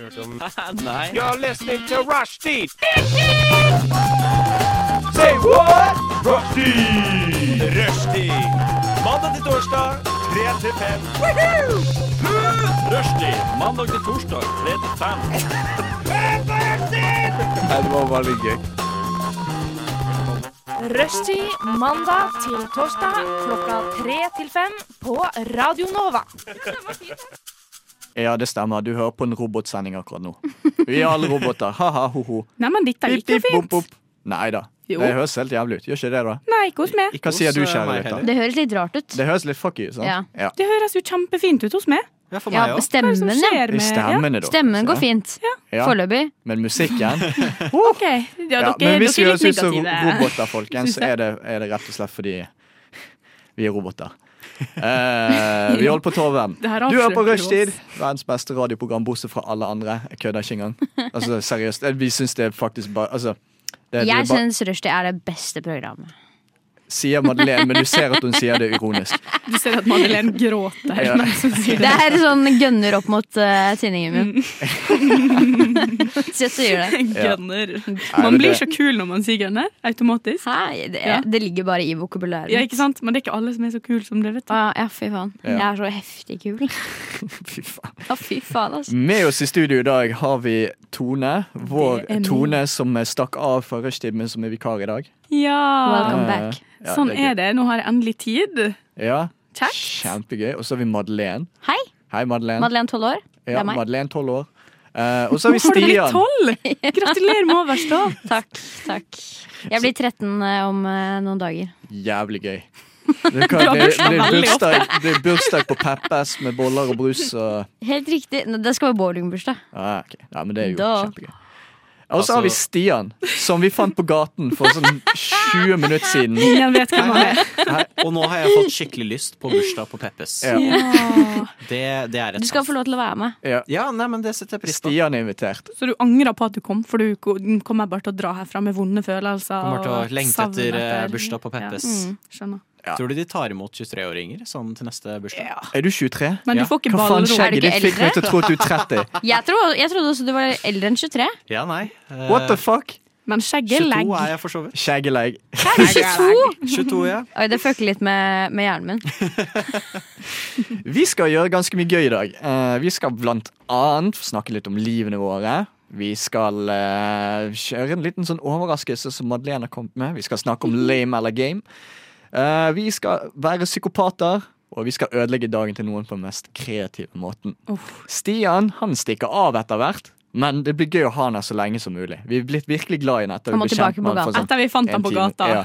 hørt om Nei. You're listening to Rushdie! Say what? Rushdie! Rushdie! Mandag til torsdag, 3 til 5. Rushdie! Mandag til torsdag, 3 til 5. det var bare litt gøy. Rushtid mandag til torsdag klokka tre til fem på Radio Nova. Ja, det stemmer. Du hører på en robotsending akkurat nå. Vi er alle roboter. Ha-ha, ho-ho. Nei, men dette gikk jo fint. Nei da. Det Jo. høres helt jævlig ut. Gjør ikke det, da? Nei, kos meg. Hva sier du, Hos, eh, kjære meg lytter? heller. Det høres litt rart ut. Det høres litt fucky ut, sant? Ja. Det høres jo kjempefint ut hos meg. Ja, for Ja, meg Hva er òg. det stemmen, som ja. skjer I med ja. Stemmen er dårlig. Stemmen går fint. Ja. Foreløpig. Men musikken Ok, ja, ja, dere, Men hvis vi dere er høres litt ut som negative. roboter, folkens, Synes så er det, er det rett og slett fordi vi er roboter. Eh, vi holder på torven. Det her Du er på avslører jo Rushtid! oss. Verdens beste radioprogram, bortsett fra alle andre. Jeg kødder ikke engang. Altså, seriøst. eh, Vi syns det er faktisk bare altså, det, det er Jeg bare- syns Rushdie er det beste programmet. Sier Madeleine, men du ser at hun sier det ironisk. Du ser at Madeleine gråter. Ja. Nei, så sier Det det. er sånn gønner opp mot uh, tinningen min. Mm. Så jeg sier det. Gunner. men Man blir det- så kul når man sier gunner, automatisk. Hæ? Det, Ja. det ligger bare i vokabulæret. Ja, ikke sant? Men det er ikke alle som er så kul som det, vet du. Å, ja, fy faen. Ja. Jeg er så heftig kul. Fy faen. Ja, fy faen, altså. Med oss i studio i dag har vi Tone. Det Vår er meg. Tone som stakk av fra rushtid, men som er vikar i dag. Ja, Welcome Eh, back. ja, sånn er det. Nå har jeg endelig tid. gøy. Ja, Kjekt. Kjempegøy. Og så har vi Madeleine. Hei. Hei, Madeleine. Madeleine, tolv år. Det ja, er meg. Madeleine, tolv år. Eh, og så har vi Har du blitt Stian. tolv? Gratulerer med overstå. Takk. takk Jeg blir 13 om eh, noen dager. Jævlig gøy. Det, har kan, det, det, bursdag er veldig ofte. bursdag, det er bursdag på Peppes med boller og brus og Helt riktig. Nå, Det skal være bowlingbursdag. ah, ok. Ja, men det er jo Da. kjempegøy. Og så har vi Stian, som vi fant på gaten for sånn 20 minutter siden. Ingen vet hvem han er. Og nå har jeg fått skikkelig lyst på bursdag på Peppes. Ja. Ja. Det, det er et Du skal sans. få lov til å være med. Ja. Ja, nei, men det setter jeg pris på. Stian er invitert. Så du angrer på at du kom, for du ko- den kommer bare til å dra herfra med vonde følelser. Kommer til å og lengte savn etter eh, bursdag på Peppes. Ja. Mm, skjønner. Ja. Tror du de tar imot 23-åringer sånn til neste bursdag? Er du 23? Men Ja. du får ikke Hva faen ballrom. Er du skjegget ikke ditt fikk meg til å tro at du er 30? Jeg, tror, jeg trodde også du var eldre enn 23. Ja, nei. Eh, What the fuck? Men skjegget 22 legg. er jeg for så vidt. Skjeggelegg. 22! 22, ja. Oi, det fucker litt med, med hjernen min. Vi skal gjøre ganske mye gøy i dag. Eh, vi skal blant annet snakke litt om livene våre. Vi skal eh, kjøre en liten sånn overraskelse som Madeleine har kommet med. Vi skal snakke om lame eller game. Eh, vi skal være psykopater, og vi skal ødelegge dagen til noen på den mest kreative måten. Uff. Stian han stikker av etter hvert, men det blir gøy å ha han her så lenge som mulig. Vi er blitt virkelig glad i han etter Han vi må ble kjent tilbake med på han for gata. sånn Etter vi fant en han på time. gata. Ja.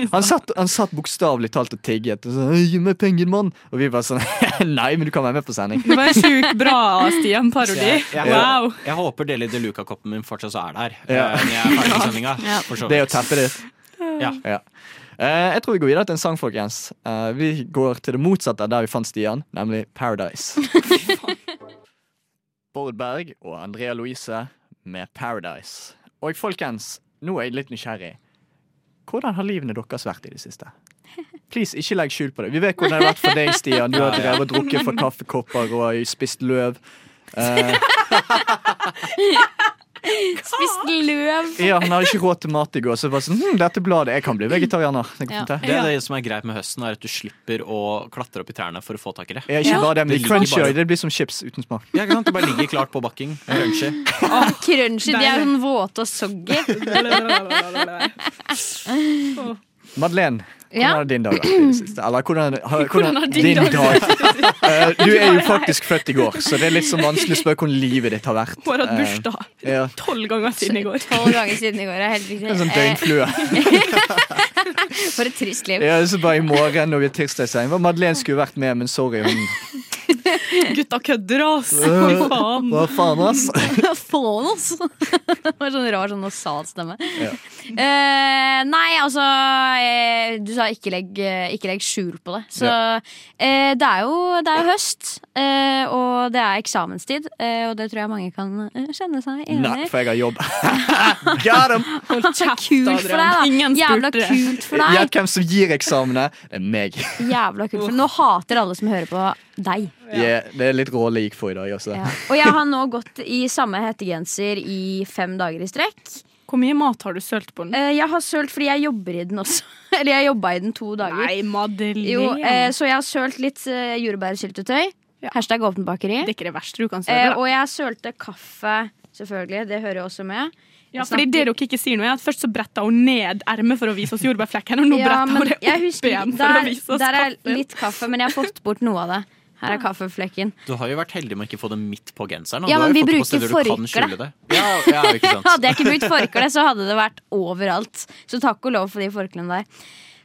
Ja. Han satt, han satt bokstavelig talt og tigget. Og sånn, Gi meg penger, mann! Og vi bare sånn Nei, men du kan være med på sending. Det var en sjukt bra Så Stian-parodi. jeg, jeg, Wow. jeg håper Deli de Luca-koppen min fortsatt så er der. Ja. eh, Når jeg er ferdig med sendinga. Ja. for så Det er jo vidt. teppet ditt. Ja. Eh, jeg tror vi går videre til en sang, folkens. Eh, vi går til det motsatte av der vi fant Stian, nemlig Paradise. Bård Berg og Andrea Louise med Paradise. Og folkens, nå er jeg litt nysgjerrig. Hvordan har livene deres vært i det siste? Please, ikke legg skjul på det. Vi vet hvordan det har vært for deg, Stian. Du har Ja, ja. drevet og drukket fra kaffekopper og spist løv. Eh, Spist løv. ja, han hadde ikke råd til mat i går, så det var sånn hm, Dette bladet, jeg kan bli vegetarianer. sånn Det går Ja. fint, det. Det, er det som er greit med høsten, er at du slipper å klatre opp i trærne for å få tak i det. Ja, ikke bare det, men Det de ligger crunchy, bare- det blir som chips uten smak. Ja, ikke sant? Det bare ligger klart på bakken. Crunchy. Crunchy. De er sånn våte og soggy. Madeleine, hvordan Ja. har din dag vært i det siste? Eller hvordan, har, Hvordan har din dag Eh, du er jo faktisk født i går, så det er litt sånn vanskelig å spørre hvordan livet ditt har vært. Hun har hatt Eh, bursdag ja. tolv ganger siden i går. Tolv ganger siden i går. er Helt En sånn riktig. døgnflue. Eh, For et trist liv. Ja, så bare i morgen når vi er tirsdag seng. Hva Madeleine skulle vært med, men sorry, hun Gutta kødder, ass! Fy faen. Eh. Hva faen, ass? Faen, altså! Det var sånn rar sånn nasal-stemme. Ja. Eh, nei, altså eh, Du sa ikke legg, eh, ikke legg skjul på det. Så eh, det, er jo, det er jo høst, eh, og det er eksamenstid. eh, og det tror jeg mange kan eh, kjenne seg enig Nei, i. for jeg har jobb. Got 'em! Hold kjeft, Kult for deg, da! Ingen Jævla spurte det. kult for Gjett deg! hvem som gir eksamene. Det er meg. Jævla kult for deg. Nå hater alle som hører på deg. Ja. er, det er litt råle jeg gikk for i dag altså. også. Ja. Og jeg har nå gått i samme hettegenser i fem dager i strekk. Hvor mye mat har du sølt på den? Eh, Jeg har sølt fordi jeg jobber i den også. Eller jeg jobba i den to dager. Nei, Madeleine. Jo, eh, så jeg har sølt litt eh, jordbærsyltetøy. Ja. Hashtag åpent bakeri. det er ikke det verste du kan Eh, søle. da. og jeg sølte kaffe, selvfølgelig. Det hører jo også med. Ja, fordi det dere ikke sier noe er at Først så bretta hun ned ermet for å vise oss jordbærflekken, og nå Ja, bretter men hun det jeg opp husker- igjen for der, å vise oss Der er kaffen. litt kaffe, men jeg har fått bort noe av det. Her er kaffeflekken. Du har jo vært heldig med å ikke få det midt på genseren. og Ja, du har men vi jo fått det på bruker steder du kan forkle. skjule det. Ja, ja, ikke sant. Hadde jeg ikke brukt forkle, så hadde det vært overalt. Så takk og lov for de forklærne der.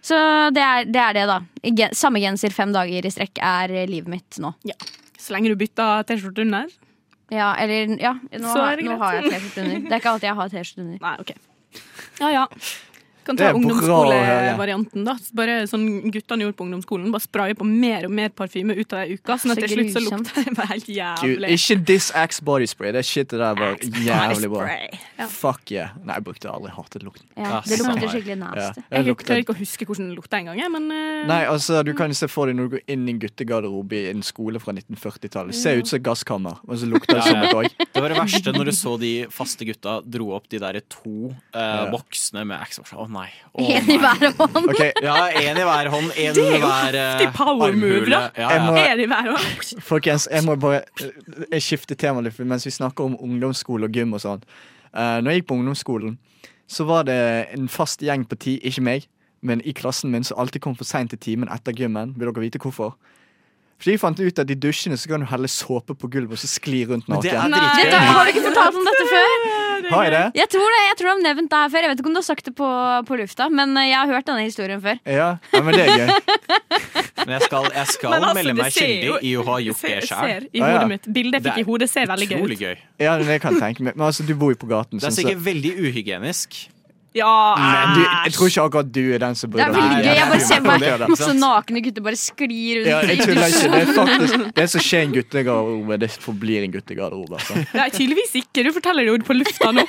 Så det er det, er det da. I gen- Samme genser fem dager i strekk er eh, livet mitt nå. Så lenge du bytter T-skjorte under. Ja, eller Ja, nå, Så er har, det nå greit. har jeg T-skjorte under. Det er ikke alltid jeg har T-skjorte under. Nei, OK. Ja ja. Kan Det er ta bra å høre. ungdomsskolevarianten, da. Bare sånn guttene gjorde på ungdomsskolen. Bare spraye på mer og mer parfyme ut av ei uke, sånn at Så til slutt så grusomt. lukter det bare helt Gud, jævlig. ikke This Axe Body Spray. Det shitet der var jævlig bra. Ja. Fuck yeah. Nei, jeg brukte det aldri. Jeg Hatet lukten. Ja, Ja, det lukter samme her. skikkelig Ja, nasty. det altså, Jeg lukter- tør ikke å huske hvordan det lukta engang, jeg, men eh, Nei, altså, du kan jo se for deg når du går inn i en guttegarderobe i en skole fra 1940-tallet. Mm. Ser ut som gasskammer, og så lukter det Ja, ja. som et òg. Det var det verste når du så de faste gutta dro opp de der to eh, voksne med axe. sånn, Å nei. Å, Én i nei. hver hånd. Ok, Ja, én i hver hånd. Én Det er i jo hver eh, heftig power move, da. armhule. Ja, Jeg ja. må- er det hver år? Folkens, jeg må bare eh, Jeg skifter tema litt for mens vi snakker om ungdomsskole og gym og sånn. Uh, når jeg gikk på ungdomsskolen, så var det en fast gjeng på ti, ikke meg, men i klassen min som alltid kom for seint til timen etter gymmen. Vil dere vite hvorfor? Fordi jeg fant ut at i dusjene så kan du helle såpe på gulvet og så skli rundt Men det er naken. dritgøy. Dette, har du ikke fortalt om dette før? Har jeg det? Jeg tror det, jeg tror du har nevnt det her før. Jeg vet ikke om du har sagt det på, på lufta, men eh, jeg har hørt denne historien før. Ja. ja, men det er gøy. Men jeg skal, jeg skal Men altså, melde det meg ser jo- skyldig i å ha gjort det Ser, sjøl. ser i Ah, ja. hodet mitt. Bildet jeg Det fikk er i hodet, ser veldig gøy Utrolig ut. gøy. Ja, det kan jeg tenke meg. Men altså, du bor jo på gaten. Det er Sånn, så sikkert veldig uhygienisk. Ja, men du, jeg tror ikke akkurat du er den som Det burde er veldig Nei, gøy. Jeg bare det er ser jo meg det, da. masse nakne gutter bare sklir rundt. Ja, jeg i tuller ikke. dusjen. Det er faktisk Det som skjer i en guttegarderobe, det forblir en guttegarderobe. Altså. Nei, tydeligvis ikke. Du forteller det jo på lufta nå.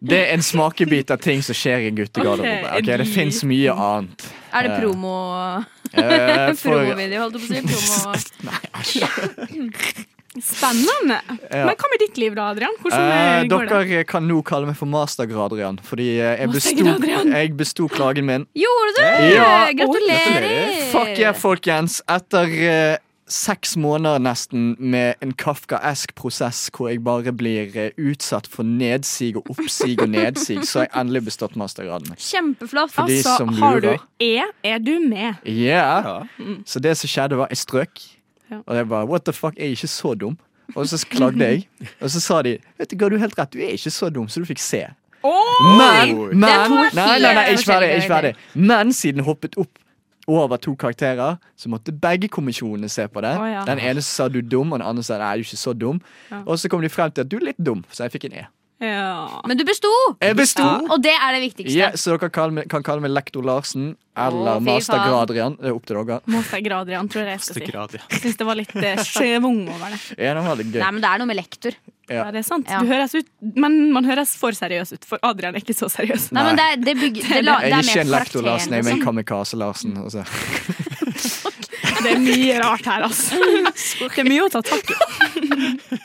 Det er en smakebit av ting som skjer i en guttegarderobe. Ok, en Ok, det liten- fins mye annet. Er det promo Eh, for, promovideo, holdt jeg på å si? Promo. Spennende. Ja. Men hva med ditt liv, da, Adrian? Hvordan eh, eh, går det? dere kan nå kalle meg for mastergrad-Adrian, fordi eh, jeg besto, Mastergrad-Adrian. jeg besto klagen min. Gjorde du? Ja, oi, Gratulerer! Fuck yeah, folkens. Etter eh, seks måneder nesten med en kafkaesk prosess hvor jeg bare blir eh, utsatt for nedsig og oppsig og nedsig, så har jeg endelig bestått mastergraden. Kjempeflott. For de altså, som har du lurer. E, er du med? Yeah. Ja. Så det som skjedde var, jeg strøk Ja. Og jeg bare, what the fuck, jeg er ikke så dum Og så klagde jeg Og så sa de, vet du hva, du er helt rett, du er ikke så dum Så du fikk se Men, Oi. men Det er to Nei, nei, nei, fine ikke ferdig, forskjellige ikke ferdig Men siden jeg hoppet opp over to karakterer Så måtte begge kommisjonene se på det Å, ja. Den ene sa du er dum, og den andre sa nei, du er ikke så dum Ja. Og så kom de frem til at du er litt dum Så jeg fikk en E Ja. Men du besto, Jeg besto og det er det viktigste. Ja, Så dere kan kalle meg, kan kalle meg Lektor Larsen Eller Å, fy faen. Mastergrad-Adrian Det er opp til dere Måstegrad, Adrian, tror jeg jeg skal si. Grad, ja. Jeg syns det var litt eh, skjevung over det. Ja, den var litt gøy Nei, men det er noe med lektor. Ja. Ja, det er sant. Ja. Du høres ut, men man høres for seriøs ut, for Adrian er ikke så seriøs. Nei, men det er, det bygger, Jeg det la, det er er ikke mer liksom. en lektor Larsen, jeg er karakteren. en kamikaze Larsen. Altså. Det er mye rart her, altså. Det er mye å ta tak i.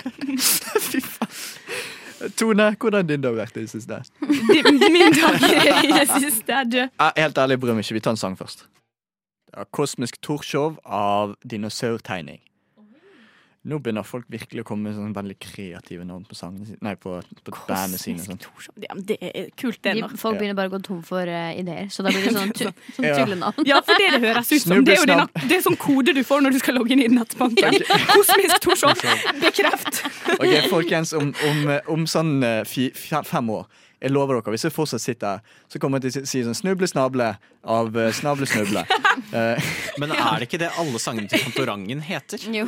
Tone, hvordan din dag har vært i det siste? Det- Min dag i det siste er død. Eh, Helt ærlig, jeg bryr meg ikke. Vi tar en sang først. Det er Kosmisk Torshov av Dinosaurtegning. Nå begynner folk virkelig å komme med sånne veldig kreative navn på sangene sine. Nei, på, på bandene sine. og sånn. Ja, men det er kult, det. nå. De, folk Ja. begynner bare å gå tom for eh, ideer, så da blir det sånn, tu, sånn Ja. tullenavn. Ja, for det det høres ut som. Det er jo Snubbesnavn. denne- det er sånn kode du får når du skal logge inn i nettbanken. Kosmisk Torshov, bekreft. Ok, folkens, om, om, eh, om sånn eh, fi, fe- fem år Jeg lover dere, hvis jeg fortsatt sitter her Så kommer jeg til å si sånn snuble-snable Av eh, snable-snuble Eh, Men er det ikke det alle sangene til Fantorangen heter? Jo,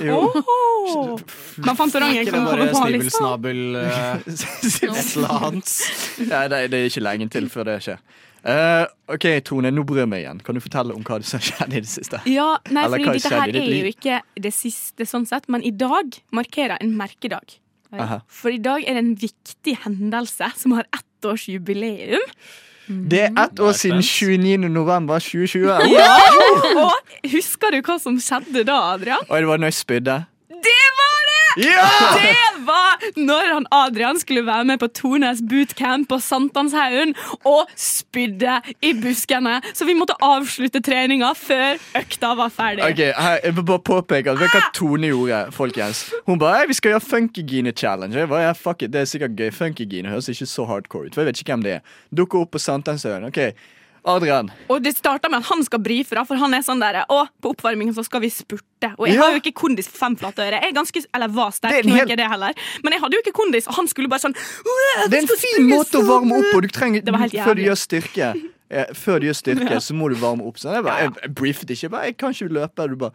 Oh. Men Fantorangen Ikke det kan bare holde på snibbel, liksom. snabel, eh, et eller annet? Nei, det, det er ikke lenge til før det skjer. Eh, ok, Tone, nå bryr jeg meg igjen. Kan du fortelle om hva som skjedde i det siste? Ja, nei, Eller hva fordi dette skjedde her i ditt er jo liv? ikke det siste sånn sett, men i dag markerer en merkedag. Aha. For i dag er det en viktig hendelse som har ettårsjubileum. Det er ett år siden 29. november 2020. Ja! Og husker du hva som skjedde da, Adrian? Og det var når jeg spydde. Det var det! Ja! Det var når han Adrian skulle være med på Tornes bootcamp på Sankthanshaugen og spydde i buskene, så vi måtte avslutte treninga før økta var ferdig. Ok, her, Jeg vil bare påpeke at vet du hva Tone gjorde. folkens Hun bare «Ei, 'Vi skal gjøre Funkygine challenge'. Jeg bare, «Ja, fuck it, det er sikkert gøy Funkygine høres ikke så hardcore ut. For jeg vet ikke hvem det er Dukker opp på Sankthanshaugen. Ok, Adrian. Og det starta med at han skal brife, da, for han er sånn der Å, på oppvarmingen så skal vi spurte. Og jeg Ja. har jo ikke kondis for fem flate øre. Jeg er ganske, eller var Det er sterk, en nå er hel- ikke det heller. Men jeg hadde jo ikke kondis, og han skulle bare sånn «Åh, Det er vi en skal fin springe måte å så varme opp mye». på. Du trenger, Det var helt før du jævlig. gjør styrke, eh, Før du gjør styrke så må du varme opp. Sånn. Jeg, bare, jeg, jeg briefet ikke. Jeg, bare, jeg kan ikke løpe. Du bare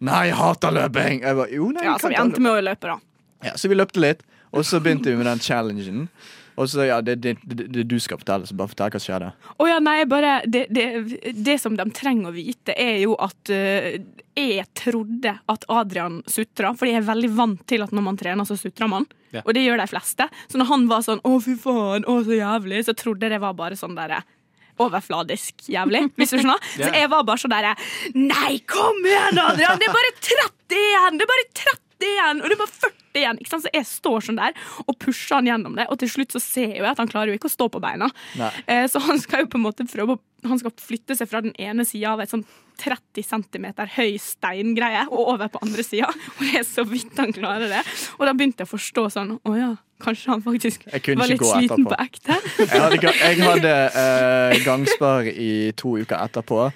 Nei, jeg hater løping! Jeg bare, jo, nei, Ja, jeg kan så vi ta løp». endte med å løpe, da. ja, så vi løpte litt, og så begynte vi med den challengen. Og så, ja, det, det, det, det du skal fortelle, så bare fortell hva som skjedde. Å ja, nei, bare det, det, det som de trenger å vite, er jo at eh, jeg trodde at Adrian sutra, fordi jeg er veldig vant til at når man trener, så sutrer man. Ja. Og det gjør de fleste. Så når han var sånn 'Å, fy faen, å, så jævlig', så trodde jeg det var bare sånn derre Overfladisk jævlig, hvis du skjønner. Så jeg var bare sånn derre Nei, kom igjen, Adrian! Det er bare 30 igjen! Det er bare 30 igjen! Og det er bare 40 igjen! Ikke sant? Så jeg står sånn der og pusher han gjennom det, og til slutt så ser jeg jo at han klarer jo ikke å stå på beina. Nei. Eh, Så han skal jo på en måte prøve å Han skal flytte seg fra den ene sida av et sånn 30 cm høy steingreie og over på andre sida. Og det er så vidt han klarer det. Og da begynte jeg å forstå sånn Å ja, kanskje han faktisk Jeg kunne var ikke litt gå sliten etterpå. på ekte. Jeg hadde, ga- jeg hadde eh, gangspar i to uker etterpå.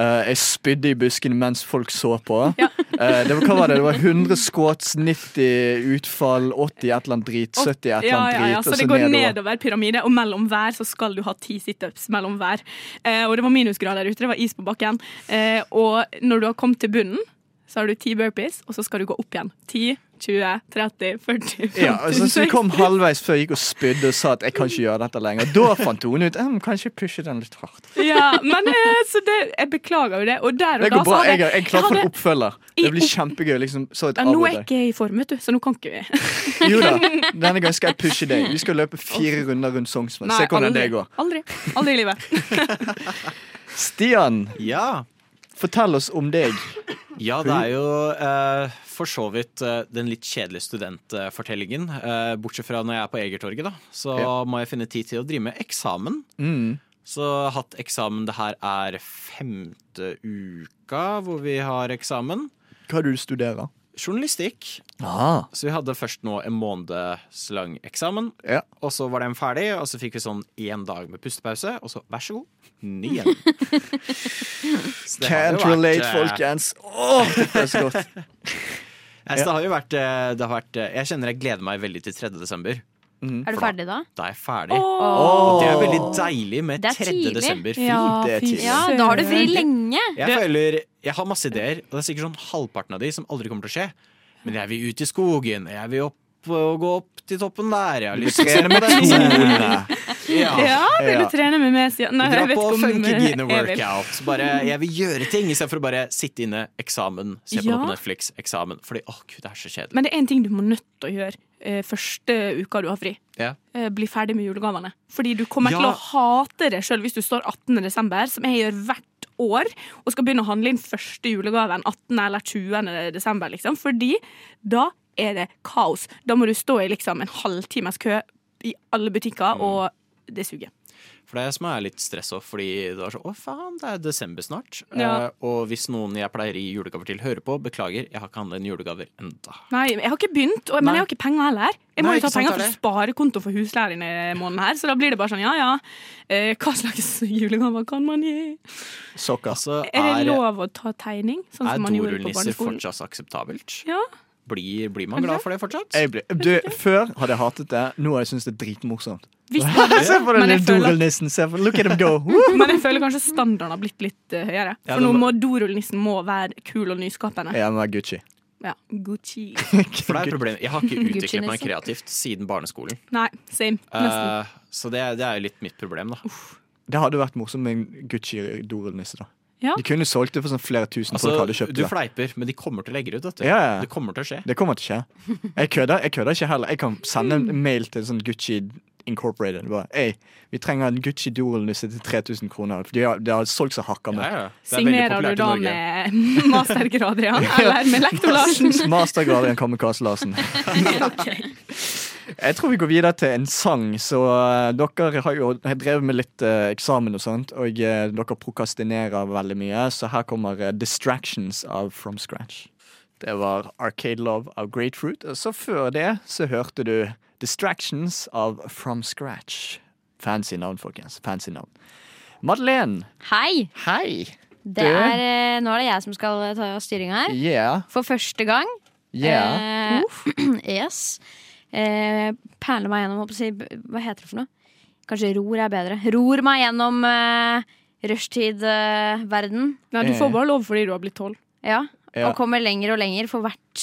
Eh, jeg spydde i busken mens folk så på. Eh, det, var, hva var det? det var 100 squats, 90 utfall, 80 et eller annet drit, 70 et eller Ja, annet ja, drit. ja. Så og det går nedover. nedover pyramide, og mellom hver så skal du ha ti situps. mellom hver. Eh, og det var minusgrader ute, det var is på bakken. Eh, og når du har kommet til bunnen, så har du ti burpees, og så skal du gå opp igjen. 10, 20, 30, 40, 50, Ja, altså, så vi kom halvveis før jeg gikk og spydde og sa at jeg kan ikke gjøre dette lenger. Da fant hun ut «Em, kanskje jeg pusher den litt hardt. Ja, men eh, så det, jeg beklager jo det. Og der og Det da går så bra. hadde Jeg er, jeg er klar for hadde- en oppfølger. I Det blir opp- kjempegøy. Liksom, så et ja, Nå er avbrudd jeg ikke i form, vet du, så nå kan ikke vi. der. Jo da, denne gangen skal jeg pushe deg. Vi skal løpe fire runder rundt Sognsvann. Se hvordan det går. Aldri. Aldri i livet. Stian, Ja. fortell oss om deg. Ja, det er jo eh, for så vidt eh, den litt kjedelige studentfortellingen. Eh, bortsett fra når jeg er på Egertorget, da. Så Ja. må jeg finne tid til å drive med eksamen. Mm. Så hatt eksamen Det her er femte uka hvor vi har eksamen. Hva er det du studerer? Journalistikk. Ah. Så vi hadde først nå en månedslang eksamen, Ja. og så var den ferdig. Og så fikk vi sånn én dag med pustepause, og så vær så god, ny igjen. Så det har Can't jo vært, relate, eh, folkens. Åh, det er så godt. Nei, så det har jo vært, eh, det har vært eh, Jeg kjenner jeg gleder meg veldig til 3. desember. Er du ferdig da? Da er jeg ferdig. Åh. Det er veldig deilig med Det er 3. tidlig. desember fri. det er fy tidlig. Ja, da har du fri søren. lenge. Jeg føler, jeg har masse ideer, og det er sikkert sånn halvparten av de som aldri kommer til å skje. Men jeg vil ut i skogen, jeg vil opp og gå opp til toppen der. Jeg har lyst til å se Trene med på den. tonene. Ja. Ja, vil du Ja. trene med meg? Sian? Nei, Dra jeg vet på ikke om jeg funkygine vil. workout. Bare, jeg vil gjøre ting istedenfor å bare sitte inne, eksamen, se på Ja. noe på Netflix, eksamen. Fordi åh gud, det er så kjedelig. Men det er en ting du må nødt til å gjøre eh, første uka du har fri. Ja. Eh, bli ferdig med julegavene. Fordi du kommer Ja. til å hate det sjøl hvis du står 18. desember, som jeg gjør hvert år, og skal begynne å handle inn første julegaven 18. eller 20. desember, liksom. Fordi da er det kaos. Da må du stå i liksom en halvtimes kø i alle Mm. butikker, og det suger. For det er det som er litt stress òg, fordi det er så å faen, det er desember snart. Ja. Eh, og hvis noen jeg pleier å gi julegaver til, hører på, beklager, jeg har ikke handlet inn julegaver enda. Nei, jeg har ikke begynt, og, men Nei. jeg har ikke penger heller. Jeg må Nei, jo ta ikke sant, penger det fra er det. sparekonto for husleien i måneden her, så da blir det bare sånn, ja ja, eh, hva slags julegaver kan man gi? Sokker. Altså, Er det er, er, lov å ta tegning, sånn som man gjorde på dorullnisser barneskolen? fortsatt akseptabelt? Ja. Blir, blir man glad for det fortsatt? Jeg ble, du, før hadde jeg hatet det, nå har jeg syntes det er dritmorsomt. Hvis Se på den Men jeg lille føler at- dorullnissen. se på- Look at him go. Woo! Men jeg føler kanskje standarden har blitt litt eh, høyere. Ja, For det nå må må- dorullnissen må være kul og nyskapende. Jeg må være Gucci. Ja, Gucci. For det er problemet. Jeg har ikke utviklet meg Gucci-nisse. kreativt siden barneskolen. Nei, same. Nesten. Eh, så det, er- det er jo litt mitt problem, da. Det hadde vært morsomt med en Gucci-dorullnisse. da Ja. De kunne solgt det for sånn flere tusen folk hadde Altså, kjøpt du det. fleiper, men de kommer til å legge det ut. Vet du. Ja, ja. Det kommer til å skje. Det kommer til å skje. Jeg kødder, jeg kødder ikke heller. Jeg kan sende en mail til sånn Gucci Incorporated. Bare, Ei, vi trenger en Gucci Duel-nusse til 3000 kroner. For de har, de har solgt seg hakka med. Ja, ja. Det er veldig Signerer du populært i da Norge. med mastergrad, Rian? Eller med lektor Larsen? Mastergrad i en kamikaze-Larsen. Jeg tror vi går videre til en sang. Så eh, dere har jo har drevet med litt eh, eksamen og sånt, og eh, dere prokastinerer veldig mye, så her kommer eh, 'Distractions' av From Scratch. Det var 'Arcade Love' av Grapefruit. Og så før det så hørte du 'Distractions' av From Scratch. Fancy navn, folkens. Fancy navn. Madeleine, Hei! hei. Det er, eh, nå er det jeg som skal eh, ta styringa her. Yeah. For første gang. Yeah. Eh, yes. Eh, perler meg gjennom, håper jeg å si. Hva heter det for noe? Kanskje ror er bedre. Ror meg gjennom eh, rushtid-verden. Nei, du får bare lov fordi du har blitt tolv. Ja, Ja. og kommer lenger og lenger for hvert,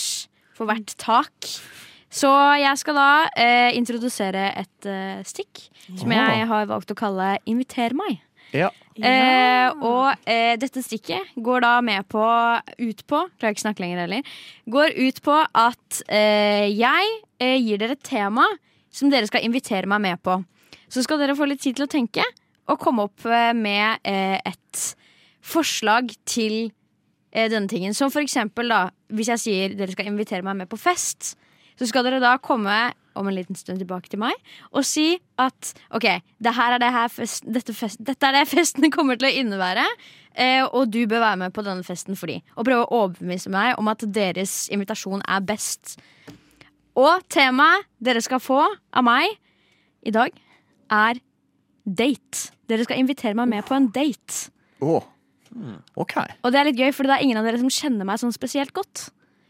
for hvert tak. Så jeg skal da eh, introdusere et eh, stikk som jeg har valgt å kalle Inviter meg. Ja. Eh, og eh, dette stikket går da med på ut på Klarer ikke å snakke lenger heller. Går ut på at eh, jeg eh, gir dere et tema som dere skal invitere meg med på. Så skal dere få litt tid til å tenke og komme opp eh, med eh, et forslag til eh, denne tingen. Som for eksempel, da, hvis jeg sier dere skal invitere meg med på fest, så skal dere da komme om en liten stund tilbake til meg og si at OK, det her er det her fest, dette, fest, dette er det festen kommer til å innebære, eh, og du bør være med på denne festen fordi Og prøve å overbevise meg om at deres invitasjon er best. Og temaet dere skal få av meg i dag, er date. Dere skal invitere meg med på en date. Å. Hmm. OK. Og det er litt gøy, for det er ingen av dere som kjenner meg sånn spesielt godt.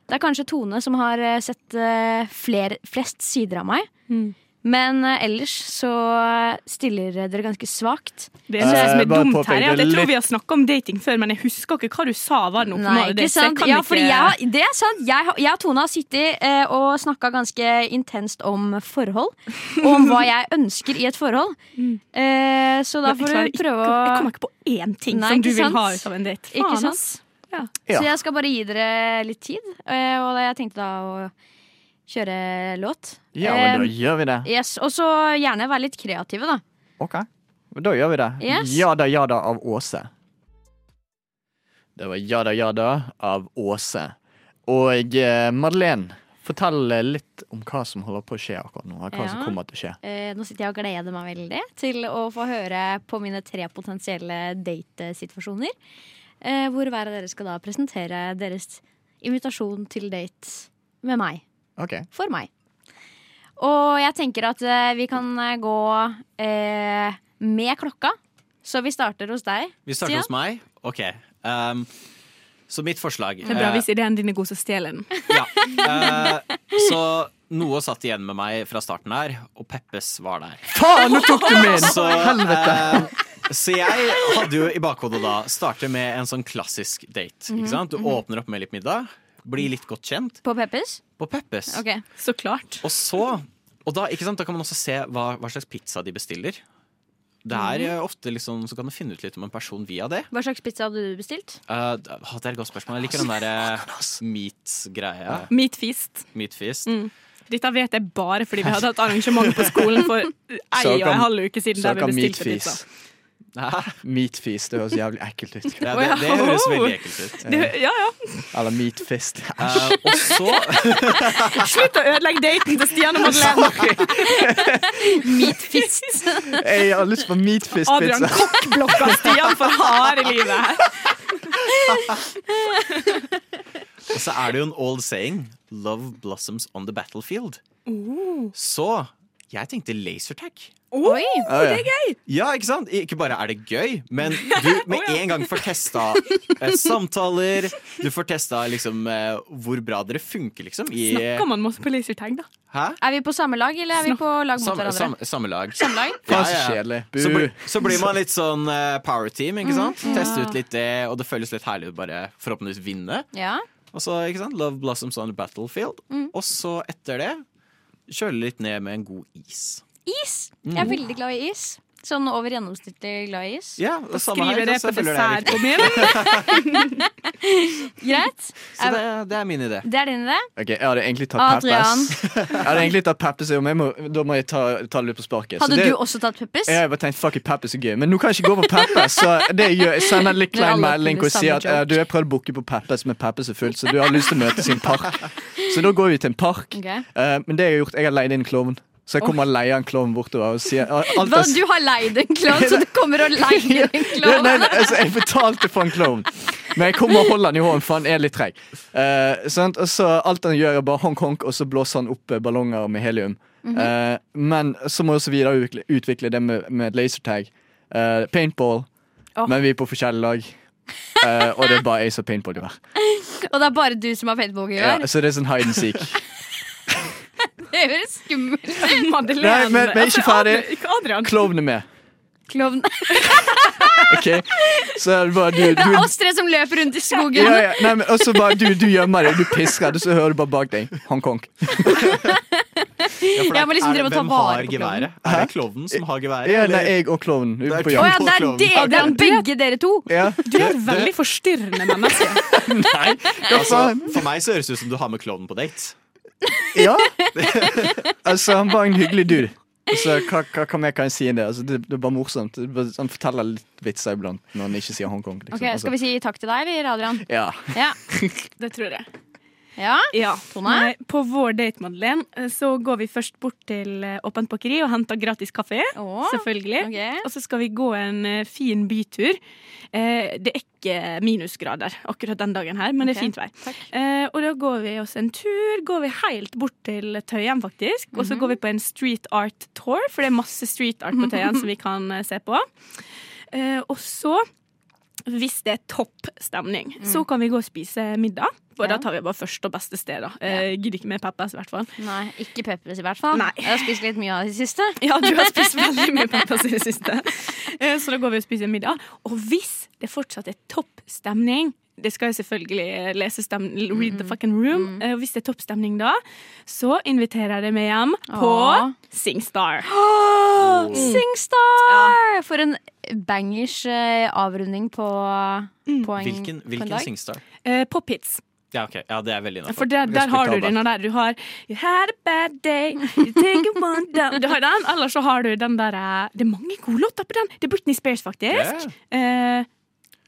Det er kanskje Tone som har eh, sett eh, fler, flest sider av meg. Mm. Men eh, ellers så eh, stiller dere ganske svakt. Det er det Eh, som er bare dumt påpeke her, er at jeg litt- tror vi har snakka om dating før, men jeg husker ikke hva du sa var noe Nei, med ikke det, så jeg sant? kan Ja, ikke- fordi jeg, har- det er sant. Jeg, har- jeg og Tone har sittet eh, og snakka ganske intenst om forhold. Og om hva jeg ønsker i et forhold. Eh, så da Men Mm. jeg får klarer du ikke- prøve Jeg å kommer ikke på én ting Nei, som du ikke vil ha sant? ut av en date. Ikke Faen, sant? ass. Ja. Så jeg skal bare gi dere litt tid. eh, Og da- jeg tenkte da å kjøre låt. Ja, men Eh, da gjør vi det. Yes, Og så gjerne være litt kreative, da. Ok, men da gjør vi det. Yes. Ja da, ja da av Åse. Det var ja da, ja da av Åse. Og eh, Madeleine, fortell eh, litt om hva som holder på å skje akkurat nå. og Hva som Ja. kommer til å skje. Eh, nå sitter jeg og gleder meg veldig til å få høre på mine tre potensielle datesituasjoner. Eh, hvor hver av dere skal da presentere deres invitasjon til date med meg. Ok, For meg. Og jeg tenker at eh, vi kan eh, gå eh, med klokka. Så vi starter hos deg. Vi starter hos meg. Ok. Um, så mitt forslag Det er bra eh, hvis ideen din er god, så stjel den. ja. Eh, Så noe satt igjen med meg fra starten her, og Peppes var der. Faen, nå tok du min! Så, Helvete! eh, så jeg hadde jo i bakhodet da starte med en sånn klassisk date. Ikke sant? Du åpner opp med litt middag, blir litt godt kjent På Peppers. på Peppes. Ok. Så klart. Og så og da, ikke sant, da kan man også se hva, hva slags pizza de bestiller. Det er eh, ofte liksom, Så kan du finne ut litt om en person via det. Hva slags pizza hadde du bestilt? Eh, det er et godt spørsmål. Jeg liker den der uh, meat-greia. Meat feast. Meat feast. Dette vet jeg bare fordi vi hadde hatt arrangement på skolen for ei Så og en kan- halv uke siden. der Snakk vi om bestilte pizza. meatfis. Meatfis, det høres jævlig ekkelt ut. Ja, Å, det, ja. det høres veldig ekkelt ut. Det, ja, ja. Eller meatfist. Eh, og så Slutt å ødelegge daten til Stian og Madeleine. Fist. Jeg har lyst på Adrian meatfist-pizza. kokkblokka Stian for harde livet her. Og så er det jo en old saying Love blossoms on the battlefield Så jeg tenkte lasertag Oi! Det er gøy! Ja, ikke sant? Ikke bare er det gøy Men du med en gang får testa eh, Samtaler Du får testa liksom eh, Hvor bra dere funker liksom i, Snakker man masse på lasertag, da? Hæ? Er vi på samme lag, eller er vi på lag mot Samme, hverandre? samme, samme lag lag? Ja, Så ja. kjedelig. Bu. Så, blir- så blir man litt sånn eh, power team, ikke sant? Mm, Teste ut litt det, og det føles litt herlig å bare forhåpentligvis vinne. Ja. Og så, ikke sant, Love Blossoms on the Battlefield. Og så etter det kjøle litt ned med en god is. Mhm. Is. Jeg er veldig glad i is. Sånn over gjennomsnittlig glad i is. Ja, og samme Skriver her, det så på jeg føler det er dessert på riktig. min. Greit. Så det, det er min idé. Det er din idé. Ok, Jeg hadde egentlig tatt Adrian, Peppes. Jeg hadde egentlig tatt Peppes, men jeg må, da må jeg ta, ta det litt på sparket. Så hadde det, du også tatt Peppers? Jeg har bare tenkt fuck it, Peppes er gøy, men nå kan jeg ikke gå på Peppes. Så det jeg gjør, jeg sender en litt Vi har klein alle melding og samme sier at joke. eh, du, jeg prøvde å booke på Peppes, men Peppes er fullt, så du har lyst til å møtes i en park. Så da går vi til en park. Ok. Eh, men det jeg har gjort, jeg har leid inn en klovn. Så jeg kommer og leier en klovn bortover og sier alt er Hva, du har leid en klovn, så du kommer og leier en Ja, nei, klovn? nei, altså, jeg betalte for en klovn. Men jeg kommer og holder han i hånden, for han er litt treig. Eh, sant? og så alt han gjør, er bare honk-honk, og så blåser han opp eh, ballonger med helium. Mhm. Eh, men så må jeg også videreutvikle utvikle det med, med lasertag. Eh, paintball. Åh. Men vi er på forskjellige lag. Eh, og det er bare jeg som har paintballgevær. Og det er bare du som har paintballgevær? Ja, så det er sånn hide and seek. Det høres skummelt ut. Madeleine. Altså, Nei, men- men ikke ferdig. Adrian- Ikke Adrian. Klovn er med. Klovn. OK? Så er det bare du, Det du er oss tre som løper rundt i skogen. ja, ja. Nei, men også bare du, du gjemmer deg, du pisser, og så hører du bare bak deg Hongkong. Ja, for Jeg det må liksom er- drive og ta hvem vare har på geværet? Er det klovnen som har geværet? Ja, eller? nei, jeg og klovnen Det ute er på Å jakt. ja, det er, det, det er begge dere to. Ja. Du er et veldig forstyrrende altså. menneske. Nei, hva altså, faen? for meg så høres det ut som du har med klovnen på date. Ja. Altså, han var en hyggelig dude. Så hva, hva, hva mer kan jeg si enn det? Altså, det, det er bare morsomt. Det er bare- Han forteller litt vitser iblant når han ikke sier Hongkong. Liksom. Ok, Skal vi si takk til deg, eller, Adrian? Altså, ja. Ja. Det tror jeg. ja. Ja, Tone? Nei, på vår date, Madeleine, så går vi først bort til eh, Åpent bakeri og henter gratis kaffe. Å, selvfølgelig. ok. Og så skal vi gå en eh, fin bytur. Eh, det er ikke minusgrader akkurat den dagen her, men det Ok, er fint vær. Eh, og da går vi oss en tur. Går vi helt bort til Tøyen, faktisk. Og så Mhm. går vi på en street art tour, for det er masse street art på Tøyen som vi kan eh, se på. Eh, og så hvis det er topp stemning, så kan vi gå og spise middag. For Mm. Ja. da tar vi bare første og beste sted, da. Eh, Gidder ikke med Peppers, i hvert fall. Nei, ikke Peppers i hvert fall. Nei. Jeg har spist litt mye av det siste. Ja, du har spist veldig mye Peppers i det siste. Eh, Så da går vi og spiser middag. Og hvis det fortsatt er topp stemning det skal jo selvfølgelig lese stem Read the fucking room. Eh, og hvis det er topp stemning da, så inviterer jeg deg med hjem på Åh. Singstar. Singstar! For en bangers eh, avrunding på, på en, Hvilken, på en hvilken dag. singstar? Eh, Pop-hits. Ja, ok, ja, det er veldig innafor. For der, der har du den der. Du har You had a bad day, you take a one down. Du har den, eller så har du den der eh, Det er mange gode låter på den. Det er Britney Spears, faktisk. Eh,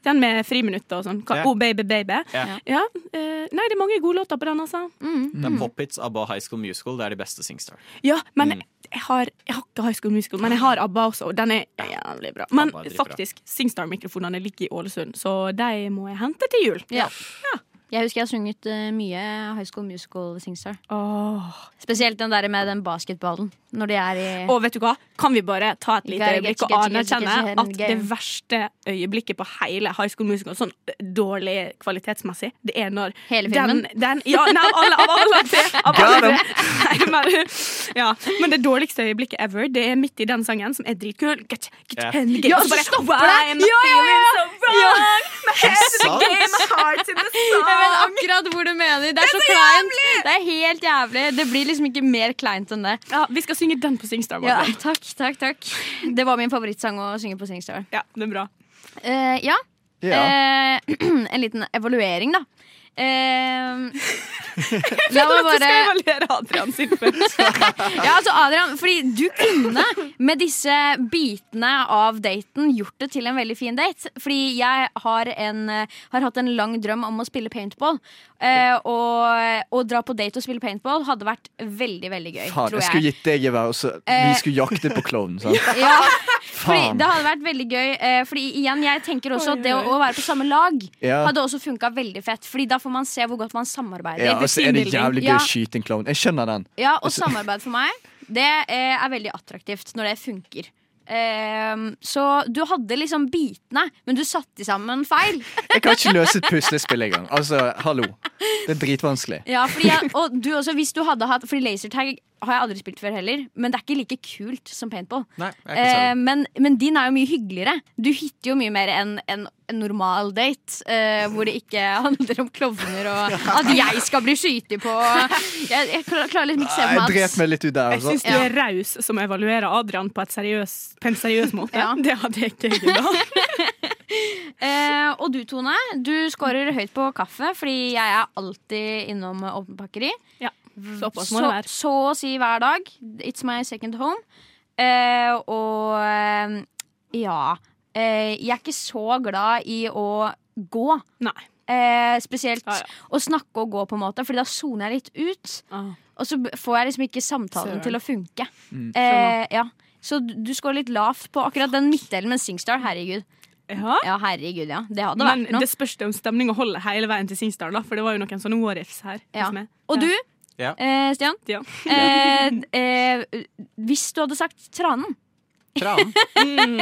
den med friminutt og sånn. Hva- Ja. Oh, baby, baby. Ja. Mm. Ja, eh, nei, det er mange gode låter på den, altså. Det er Pop-Its, ABBA, High School Musical. Det er de beste Singstar. Ja, men Mm. jeg har, jeg har ikke High School Musical, men jeg har ABBA også, og den er jævlig bra. Men ABBA er dritbra. faktisk, Singstar-mikrofonene ligger i Ålesund, så de må jeg hente til jul. Ja. Jeg husker jeg har sunget eh, mye High School Musical Singstar. Åh. Spesielt den der med den basketballen. Når de er i Og vet du hva? Kan vi bare ta et lite Gotta get øyeblikk you, og get you, get you, anerkjenne get you, at get you. det verste øyeblikket på hele High School Musical, sånn dårlig kvalitetsmessig, det er når Hele filmen? Den, den, ja, nei, av alle, av alle tre! Av alle tre. Nei, men, ja. men det dårligste øyeblikket ever, det er midt i den sangen, som er dritkul. Get, get, Ja. and get, Ja, og så bare, så stopper "Why det. am I Ja, ja, ja. feeling so wrong? My head's in Sang? the game, my heart's in the song." Jeg vet akkurat hvor du mener. Det er, så, kleint. Det er helt jævlig. Det blir liksom ikke mer kleint enn det. Ja, vi skal synge den på Singstar. Ja, Madeleine. takk, takk, takk. Det var min favorittsang å synge på Singstar. Ja, det er bra. Eh, ja. Ja. Eh, en liten evaluering, da. Eh, la meg Du skal bare evaluere Adrian sin først. Ja, altså Adrian, fordi du kunne med disse bitene av daten gjort det til en veldig fin date. Fordi jeg har, en, eh, har hatt en lang drøm om å spille paintball. Eh, og å dra på date og spille paintball hadde vært veldig, veldig gøy. Faen, tror jeg skulle gitt deg gevær, og så vi Eh. skulle jakte på klovnen. sant? Ja, fordi Faen. det hadde vært veldig gøy. eh, Fordi igjen, jeg tenker også at det å, å være på samme lag Ja. hadde også funka veldig fett. Fordi da får man se hvor godt man samarbeider. Ja, og så er det jævlig gøy Ja. å skyte en klovn. Jeg skjønner den. Ja, og samarbeid for meg Det eh, er veldig attraktivt når det funker. Ehm, så du hadde liksom bitene, men du satte sammen feil. Jeg kan ikke løse et puslespill engang. Altså, hallo. Det er dritvanskelig. Ja, fordi jeg, og du også, hvis du hadde hatt Fordi lasertag har jeg aldri spilt før heller, men det er ikke like kult som paintball. Nei, jeg er ikke sånn. Eh, særlig. men, men din er jo mye hyggeligere. Du hitter jo mye mer enn en, en normal date. eh, hvor det ikke handler om klovner og at jeg skal bli skytet på. Jeg, jeg klar- klarer liksom ikke se Jeg for meg drep at meg litt ut der. Jeg Altså. syns du er raus som evaluerer Adrian på, et seriøs, på en seriøs måte. Ja. Det hadde jeg ikke gjort. Eh, Og du, Tone, du scorer høyt på kaffe fordi jeg er alltid innom eh, åpent pakkeri. Ja. Såpass Så, må det være. så å si hver dag. It's my second home. Eh, og eh, ja eh, Jeg er ikke så glad i å gå. Nei. Eh, spesielt Ah, Ja, ja. å snakke og gå, på en måte Fordi da soner jeg litt ut. Og så b- får jeg liksom ikke samtalen Søren. til å funke. Mm. Eh, ja. Så du du scorer litt lavt på akkurat den midtdelen, men Singstar, herregud. Ja. Ja, herregud, ja. Det hadde Men vært noe. det spørs det om stemninga holder hele veien til Singstar, da, for det var jo noen sånne what-ifs her. liksom, Ja. som jeg- Og du, Ja. eh, Stian. Ja. Eh, eh, hvis du hadde sagt Mm. Tranen Tran.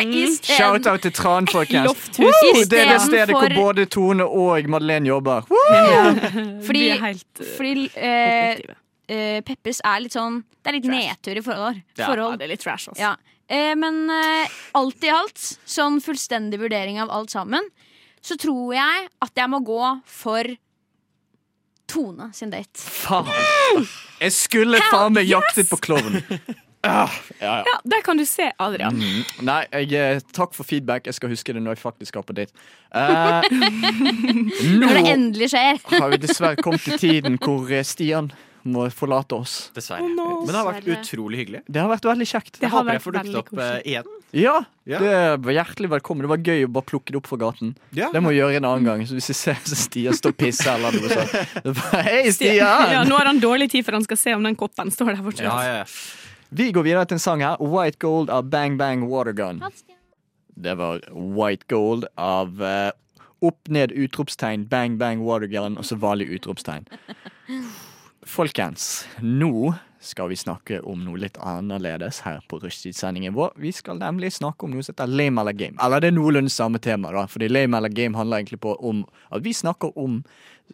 i stedet- Shout-out til Tran, folkens. Lofthus. Woo! Det er det stedet hvor Istedenfor- både Tone og Madeleine jobber. Woo! Fordi, Fordi- er helt, eh, Fordi eh, objektive. eh, Peppes er litt sånn Det er litt Trash. nedtur i forhold. Ja, ja, forhold. det er litt trash, altså. Ja. Eh, men eh, alt i alt, sånn fullstendig vurdering av alt sammen, så tror jeg at jeg må gå for Tone sin date. Faen. Jeg skulle faen meg jaktet på klovnen. Ja, der kan du se Adrian. Mm. Nei, jeg, eh, takk for feedback. Jeg skal huske det når jeg faktisk skal på date. Eh, Når det nå endelig skjer. har vi dessverre kommet til tiden hvor eh, Stian må forlate oss. Dessverre. Oh, no. Men det har vært Dessverre. utrolig hyggelig. Det har vært veldig kjekt. Det Jeg har håper jeg vært får dukket veldig opp eh, igjen. Ja, Ja. det var hjertelig velkommen. Det var gøy å bare plukke det opp fra gaten. Ja. Det må jeg gjøre en annen gang. Så hvis jeg ser så Stian står og pisser eller noe sånt så bare, Hei, Ja, Stian! nå har han dårlig tid, for han skal se om den koppen står der fortsatt. Ja, ja, ja. Vi går videre til en sang her. White Gold av Bang Bang Watergun. Det var White Gold av eh, opp, ned, utropstegn, bang, bang, watergun, og så vanlig utropstegn. Folkens, nå skal vi snakke om noe litt annerledes her på rushtidssendingen vår. Vi skal nemlig snakke om noe som heter lame eller game. Eller det er noenlunde samme tema, da, fordi lame eller game handler egentlig på om at vi snakker om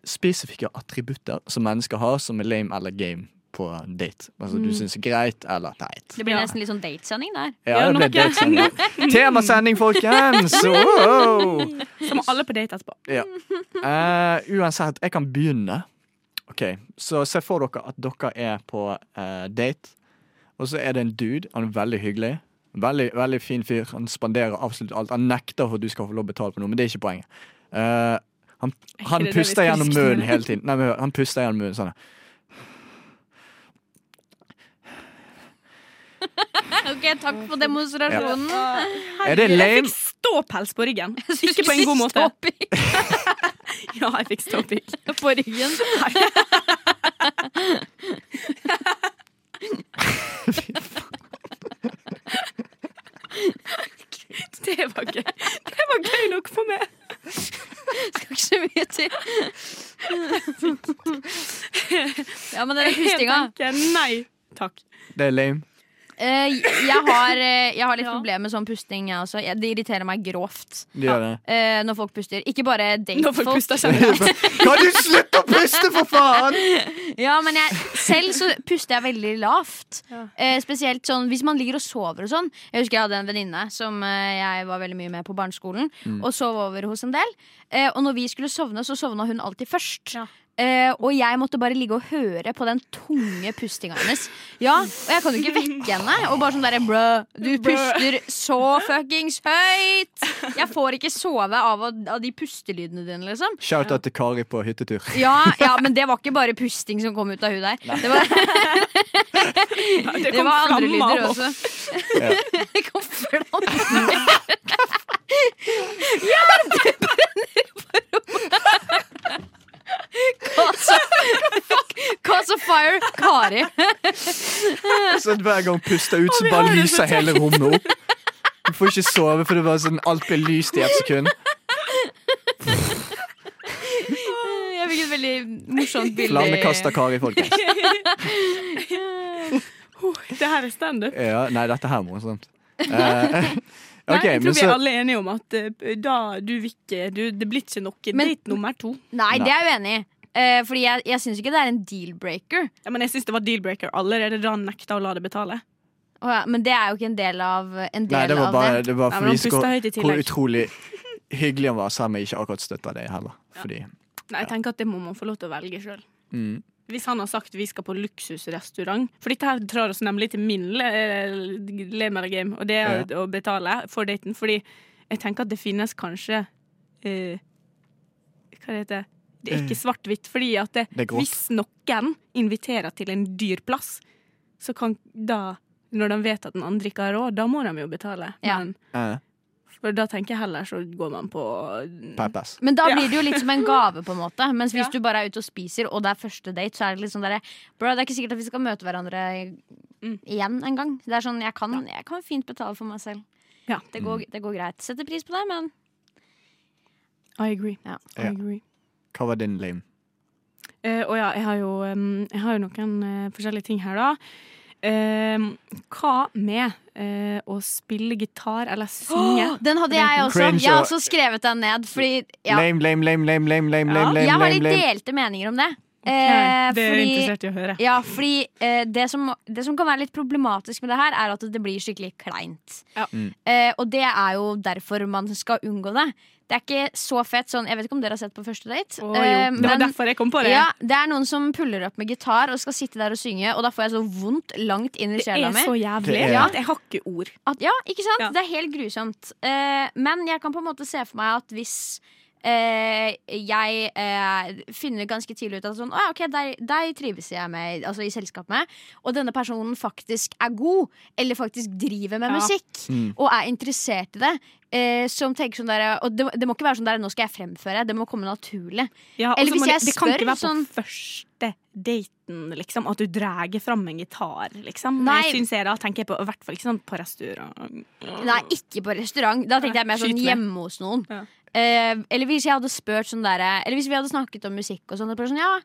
spesifikke attributter som mennesker har som er lame eller game på date. Altså du syns er greit eller teit. Det blir Ja. nesten litt sånn datesending der. Ja, Gjør det ble noe. datesending. Temasending, folkens! Wow! Så må alle på date etterpå. Ja. Eh, uansett, jeg kan begynne. Ok, Så se for dere at dere er på eh, date, og så er det en dude. Han er veldig hyggelig. Veldig, veldig fin fyr. Han spanderer absolutt alt. Han nekter for at du skal få lov å betale for noe, men det er ikke poenget. Eh, han, han det det vi puster skal gjennom diskutere? munnen hele tiden. Nei, men hør, han puster gjennom munnen sånn. Ok, Takk for demonstrasjonen. Er det Jeg lame? fikk ståpels på ryggen. Ikke på en god måte. Stopp Ja, jeg fikk ståpikk. i- på ryggen. Det var gøy. Det var gøy nok for meg. Skal ikke så mye til. Ja, men den pustinga Jeg tenker nei takk. Det er lame. Eh, jeg, har, eh, jeg har litt Ja. problemer med sånn pusting. Jeg også. Jeg, det irriterer meg grovt Det gjør det. eh, når folk puster. Ikke bare Når folk datefolk. puster generelt. Kan du slutte å puste, for faen?! Ja, men jeg, selv så puster jeg veldig lavt. Eh, spesielt sånn hvis man ligger og sover og sånn. Jeg husker jeg hadde en venninne som eh, jeg var veldig mye med på barneskolen, og sov over hos en del. Eh, og når vi skulle sovne, så sovna hun alltid først. Eh, og jeg måtte bare ligge og høre på den tunge pustinga hennes. Ja, Og jeg kan jo ikke vekke henne. Og bare sånn derre brø, du puster så fuckings høyt! Jeg får ikke sove av, å- av de pustelydene dine, liksom. Shout-out til Kari på hyttetur. Ja, ja, men det var ikke bare pusting som kom ut av hun der. Det var, Det det kom var andre flammer lyder opp. også. Ja. Det kom flammer. Ja, det brenner på rommet! Cause of fire, Kari. Så at hver gang hun puster ut, så bare lyser hele rommet opp. Du får ikke sove, for det var sånn alt ble lyst i ett sekund. Jeg fikk et veldig morsomt bilde. Flammekaster Kari, folkens. Det her er standup. Ja, nei, dette her er morsomt. Eh, Nei, ok, jeg men tror vi er så alle enige om at eh, da du vil ikke du, Det blir ikke noe Men- date nummer to. Nei, det er jeg uenig i. Eh, fordi jeg, jeg syns ikke det er en deal-breaker. Ja, men jeg syns det var deal-breaker allerede da han nekta å la det betale. Å ja, men det er jo ikke en del av en del Nei, det var av bare, det. det var Nei, for men vi han skal, puster høyt i hvor tillegg. utrolig hyggelig han var, selv om jeg ikke akkurat støtta det heller. Fordi Nei, jeg tenker at det må man få lov til å velge sjøl. mm, Hvis han har sagt vi skal på luksusrestaurant For dette her drar oss nemlig til min le lemergame, og det er å betale for daten. Fordi jeg tenker at det finnes kanskje eh, Hva det heter det? Det er ikke svart-hvitt. Fordi at det, Det er grått. hvis noen inviterer til en dyr plass, så kan da Når de vet at den andre ikke har råd, da må de jo betale. Ja. Men, eh, for da tenker jeg heller så går man på Peppers. Men da Ja. blir det jo litt som en gave, på en måte. Mens hvis du Ja. bare er ute og spiser, og det er første date, så er det liksom derre Bro, det er ikke sikkert at vi skal møte hverandre Mm. igjen en gang. Det er sånn, jeg kan, jeg kan fint betale for meg selv. Ja. Det, går, det går greit. Setter pris på det, men I agree. Ja. Ja. I agree. Hva var din lame? Eh, og ja, jeg har jo, em, jeg har jo noen eh, forskjellige ting her, da. Em, hva med eh, å spille gitar eller synge? Den hadde jeg også. Cringe Jeg har og- også skrevet den ned, fordi ja. Lame, lame, lame, lame, lame, lame, Ja. lame, lame, Jeg har lame, litt lame. delte meninger om det. Nei, Eh, det er jeg fordi interessert i å høre. Ja, fordi eh, det, som, det som kan være litt problematisk med det her, er at det blir skikkelig kleint. Ja. Mm. Eh, og det er jo derfor man skal unngå det. Det er ikke så fett sånn Jeg vet ikke om dere har sett på første date. Å, jo. eh, det var men- derfor jeg kom på det. ja, det er noen som puller opp med gitar og skal sitte der og synge, og da får jeg så vondt langt inn i det sjela er mi. så jævlig Det er- at jeg har ikke ord. At, ja, ikke sant? Ja. Det er helt grusomt. Eh, men jeg kan på en måte se for meg at hvis eh, jeg eh, finner ganske tidlig ut at sånn, «Å ja, ok, deg, deg trives jeg med altså, i selskap med, og denne personen faktisk er god, eller faktisk driver med Ja. musikk, Mm. og er interessert i det, eh, som tenker sånn der, og det, det må ikke være sånn der, nå skal jeg fremføre, det må komme naturlig. Ja, og Eller så hvis må jeg det, det kan spør ikke være sånn- på første daten liksom, at du drar fram en gitar, liksom. Nei. Jeg synes jeg da tenker jeg på, i hvert fall ikke sånn på restaurant. Nei, ikke på restaurant. Da tenkte Nei, jeg mer sånn skyt ned. hjemme hos noen. Ja. Eh, eller hvis jeg hadde spurt sånn der, Eller hvis vi hadde snakket om musikk og sånn, og bare sånn ja,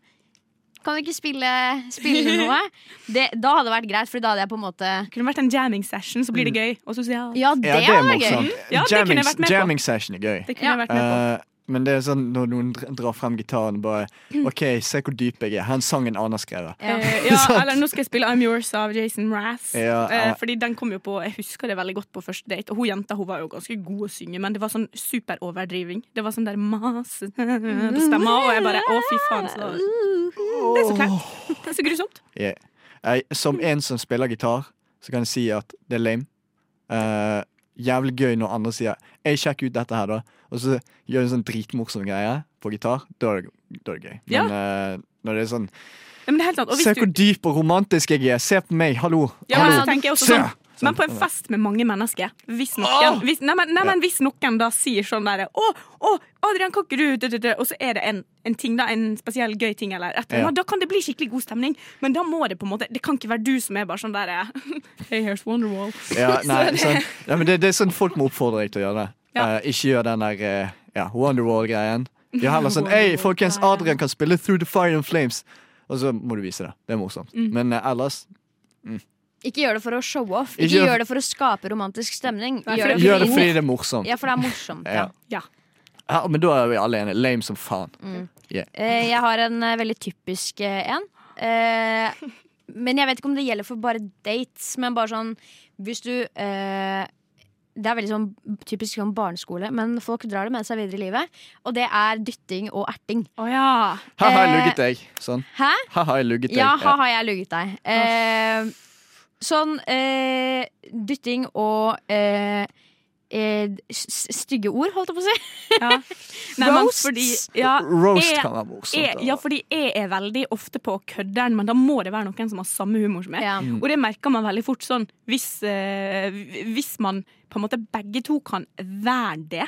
kan vi ikke spille, spille noe? Det, da hadde det vært greit, for da hadde jeg på en måte Det kunne vært en jamming session, så blir Mm. det gøy. Og sosialt. Ja, det, Ja, det er hadde vært gøy. morsomt. Ja, det kunne jeg Jamming, vært med på. jamming session er gøy. Det kunne jeg vært med på. Eh, men det er sånn når noen dr- drar frem gitaren og bare OK, se hvor dyp jeg er. Her er en sang en annen har skrevet. Ja. Eh, Mm. ja, eller nå skal jeg spille I'm Yours av Jason Mraz. Ja, ja. Eh, fordi den kom jo på, Jeg husker det veldig godt på første date. Og hun jenta hun var jo ganske god å synge, men det var sånn superoverdriving. Det var sånn der mas på stemma, og jeg bare Å, fy faen. Så, det er så kleint. Det er så grusomt. Yeah. Jeg, Eh, som en som spiller gitar, så kan jeg si at det er lame. Eh, jævlig gøy når andre sier 'Ei, sjekk ut dette her', da. Og så gjør du en sånn dritmorsom greie på gitar. Da er det, da er det gøy. Men eh, når det er sånn Ja, men det er helt sant. Og Se hvis hvor du, dyp og romantisk jeg er! Se på meg! Hallo! ja, men så Hallo! tenker jeg også Se! sånn men på en fest med mange mennesker, hvis noen, hvis, nei, men, nei, men hvis noen da sier sånn derre Å, å, Adrian, kan ikke du dø, dø, dø», Og så er det en, en ting, da, en spesiell gøy ting, eller et eller annet. Da kan det bli skikkelig god stemning, men da må det på en måte Det kan ikke være du som er bare sånn derre Hey, here's Wonderwall. Ja, nei, det- sånn, ja, men det, det er sånn folk må oppfordre deg til å gjøre det. Ja. Eh, ikke gjør den der eh, ja, Wonderwall-greien. De har heller sånn Hei, folkens, Adrian kan spille Through the Fire and Flames. Og så må du vise det. Det er morsomt. Mm. Men eh, ellers Ikke gjør det for å show off. Ikke Ikke gjør- gjør det for å skape romantisk stemning. Nei, for Gjør det det gjør det fordi, fordi det er morsomt. ja, for det er morsomt. Ja. Ja. Ja. Ja, men da er vi alle enige. Lame som faen. Eh, jeg har en eh, veldig typisk eh, en. Eh, men jeg vet ikke om det gjelder for bare dates, men bare sånn hvis du eh, Det er veldig sånn typisk sånn barneskole, men folk drar det med seg videre i livet. Og det er dytting og erting. Å ja. Her har jeg Eh, lugget deg. Sånn. Hæ? Her har jeg lugget deg. Ja, Ja. her har jeg lugget deg. Eh, sånn eh, dytting og eh, eh, s- stygge ord, holdt jeg på å si. ja. Nei, men Roasts. fordi ja, Eh, Roast jeg- kan være morsomt. jeg, ja, fordi jeg er veldig ofte på kødderen, men da må det være noen som har samme humor som meg. Ja. Og det merker man veldig fort sånn hvis, eh, hvis man på en måte begge to kan være det,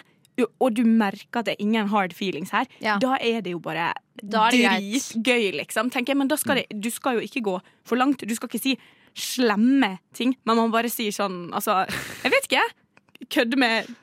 og du merker at det er ingen hard feelings her, Ja. da er det jo bare Da er det dritgøy, liksom. Tenker jeg. Men da skal det, du skal jo ikke gå for langt. Du skal ikke si slemme ting, men man bare sier sånn altså, Jeg vet ikke. Kødde med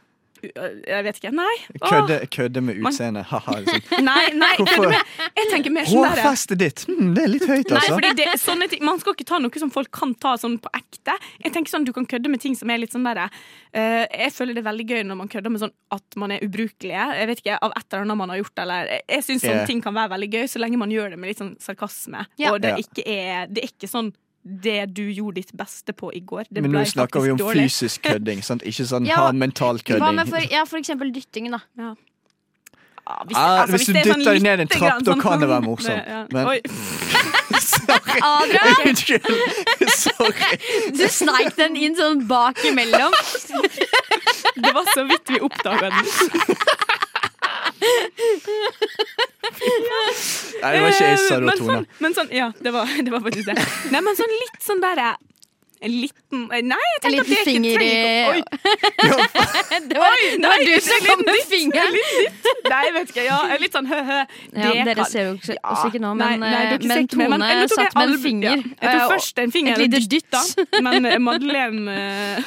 Jeg vet ikke. Nei. Åh. Kødde, kødde med utseendet. Haha, liksom. Nei, nei. Hvorfor- kødder med- Jeg tenker mer sånn derre Hårfestet ditt! Hm, det er litt høyt, Nei, altså. fordi det, sånne ting, Man skal ikke ta noe som folk kan ta sånn på ekte. Jeg tenker sånn, Du kan kødde med ting som er litt sånn derre eh, Jeg føler det er veldig gøy når man kødder med sånn at man er ubrukelige. Jeg vet ikke, Av et eller annet man har gjort. Eller, jeg- jeg syns sånne Ja. ting kan være veldig gøy, så lenge man gjør det med litt sånn sarkasme. Ja. Og det, Ja. ikke er, det er ikke sånn det du gjorde ditt beste på i går. Det Men nå ble snakker vi faktisk om dårlig. fysisk kødding, sant? ikke sånn Ja, ha mental Hva med kødding. for, ja, for eksempel dyttingen, da. Ja, Ja, Ah, hvis du altså, det er sånn dytter deg ned en lite trapp, grann da kan det være sånn- morsomt. Ja. Men- Oi. Sorry! Adrian, Unnskyld! Sorry. du sneik den inn sånn bak imellom. Det var så vidt vi oppdaga den. Nei, det var ikke jeg som sa Eh, det, men Tone. sånn, men sånn, ja, det var, det var faktisk det. Nei, men sånn litt sånn der eh, En liten eh, Nei, jeg En tenkte at det liten ikke finger trenger i ikke Det var, det var nei, du det som er kom med litt- fingeren. Oi, Nei, jeg vet ikke. Ja, eh, litt sånn hø-hø. Ja, Det dere kan- ser jo ikke, Ja, oss ikke nå, nei, men, eh, nei, dere ser men ikke meg, Tone men- men nå tok jeg satt med en alv- finger. ja, Jeg tok og- først en finger. et lite og dytt, dytt. da. Men eh, Madeleine eh,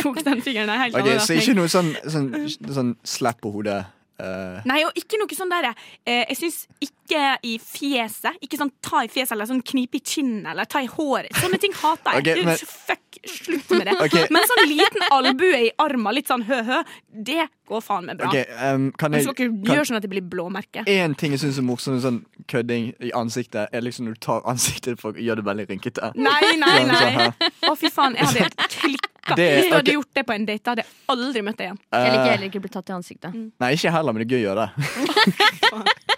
tok den fingeren i helt Ok, annen Så retning. ikke noe sånn, sånn, sånn slapp på hodet? eh, Nei, og ikke noe sånn der eh, Jeg syns ikke i fjeset. Ikke sånn ta i fjeset eller sånn knipe i kinnet eller ta i håret. Sånne ting hater jeg. Ok, men- Du, Fuck, slutt med det. Ok. Men sånn liten albue i armen, litt sånn hø-hø, det går faen meg bra. ok, em, kan Men jeg Du skal ikke kan, Eh, gjøre sånn at det blir blåmerke. En ting jeg syns er morsom med sånn kødding i ansiktet, er liksom når du tar ansiktet for å gjøre det veldig rynkete. Nei, nei, Sånn, sånn nei. her. Å, fy faen, jeg hadde helt klikka. Det- Hvis du ok. hadde gjort det på en date, hadde jeg aldri møtt deg igjen. Jeg liker Eh, heller ikke å bli tatt i ansiktet. Nei, ikke heller, men det er gøy å gjøre det.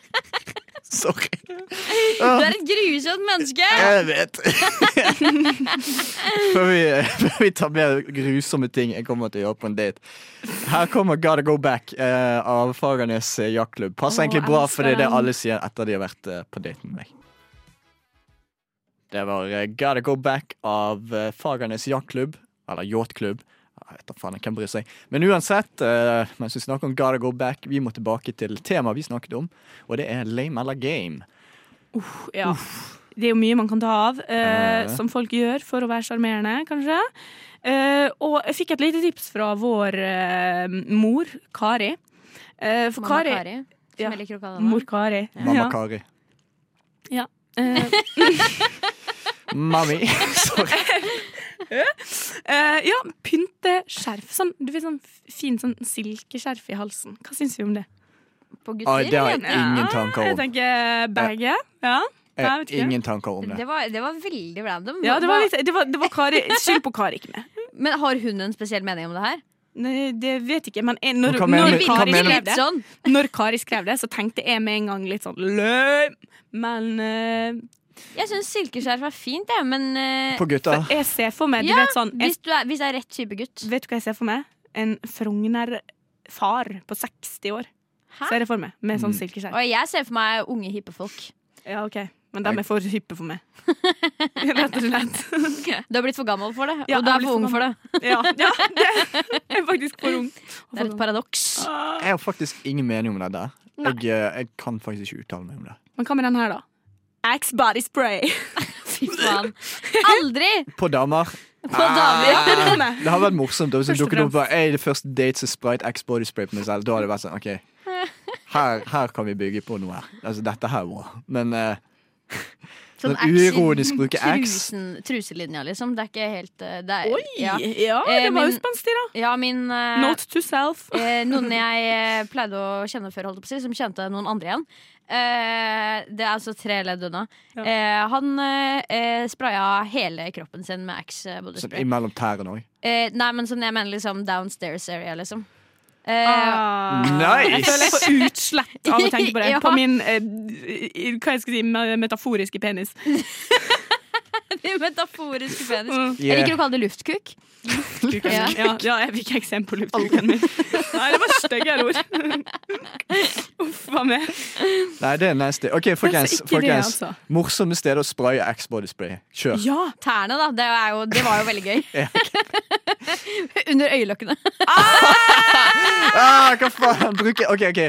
Sorry. Du er et grusomt menneske! Jeg vet. før, vi, før vi tar mer grusomme ting jeg kommer til å gjøre på en date. Her kommer Gotta Go Back eh, av Fagernes eh, jaktklubb. Passer Å, egentlig bra, elsker for det er det den. alle sier etter de har vært eh, på date med meg. Det var eh, Gotta Go Back av eh, Fagernes jaktklubb, eller yachtklubb. Jeg vet da faen, hvem bryr seg. Men uansett, eh, mens vi snakker om Gotta Go Back, vi må tilbake til temaet vi snakket om, og det er lame eller game. Ja. Det er jo mye man kan ta av, eh, Eh. som folk gjør for å være sjarmerende, kanskje. Eh, og jeg fikk et lite tips fra vår eh, mor, Kari. Eh, for Mamma Kari, Kari, som Ja. jeg liker å kalle henne. Mor Kari. Mamma Ja. Kari. Eh, Mami. Sorry. eh, ja, pynte skjerf. Sånn, du vet, sånn f- fin sånn silkeskjerf i halsen. Hva syns vi om det? På Oi, gutter? det har jeg eller? ingen tanker Jeg om. tenker begge. Ja. Jeg Nei, har vet ikke. ingen tanker om det. Det var, det var veldig random. ja, det var litt det var, det var Kari. Skyld på Kari, ikke meg. Men har hun en spesiell mening om det her? Nei, Det vet jeg ikke, men eh, når, Men hva når mener- hva Kari virker mener- skrev litt det sånn. Når Kari skrev det, så tenkte jeg med en gang litt sånn løy. Men eh, Jeg syns silkeskjerf er fint, jeg, men eh, På gutta. jeg ser for meg Du Ja, vet sånn jeg, hvis, du er, hvis det er rett type gutt. Vet du hva jeg ser for meg? En Frogner-far på 60 år. Hæ? Ser jeg for meg, Med sånn Mm. silkeskjerf. Og jeg ser for meg unge, hippe folk. Ja, ok Men de er for hyppe for meg. Rett og slett. Du har blitt for gammel for det, Ja, og du jeg har er blitt for ung for for det. Ja, ja det er faktisk for ung. Det er et paradoks. Ah. Jeg har faktisk ingen mening om det der. Jeg, eh, jeg kan faktisk ikke uttale meg om det. Men hva med den her, da? Axe body spray. Fy faen. Aldri På damer. på Ah, damer! Damer. Det har vært morsomt. da, Hvis Først du og dukket opp på «Ei, det første date som sprite X body spray på meg selv, da hadde det vært sånn OK, her, her kan vi bygge på noe her. Altså, dette her er bra. Men eh, Sånn Sånn uironisk bruke X. Trusen, truselinja, liksom. Det er ikke helt eh, det er, Oi! Ja, Ja. det Eh, var men- jo spenstig, da. ja, min eh, Note to self. eh, Noen jeg eh, pleide å kjenne før, holdt jeg på å si, som kjente noen andre igjen. Eh, det er altså tre ledd unna. Ja. Eh, han eh, eh, spraya hele kroppen sin med Axe eh, body sånn spray. imellom tærne òg. Eh, nei, men sånn jeg mener liksom downstairs area, liksom. Eh, Ah. Jeg føler jeg Nice! får utslett av å tenke på det. Ja. På min eh, i- hva jeg skal si, me- metaforiske penis. de metaforiske penis. Jeg liker Yeah. å kalle det luftkuk. Ja. Ja. Ja, jeg fikk eksempel på luftkuken min. Nei, det var styggere ord. Uff a meg. Nei, det er nasty. OK, folkens. Altså, ikke det, folkens. altså. Morsomme steder å spraye X-body spray. Kjør. Ja. Tærne, da. Det, er jo, det var jo veldig gøy. Under øyelokkene. Ah, hva faen? Bruke, ok, ok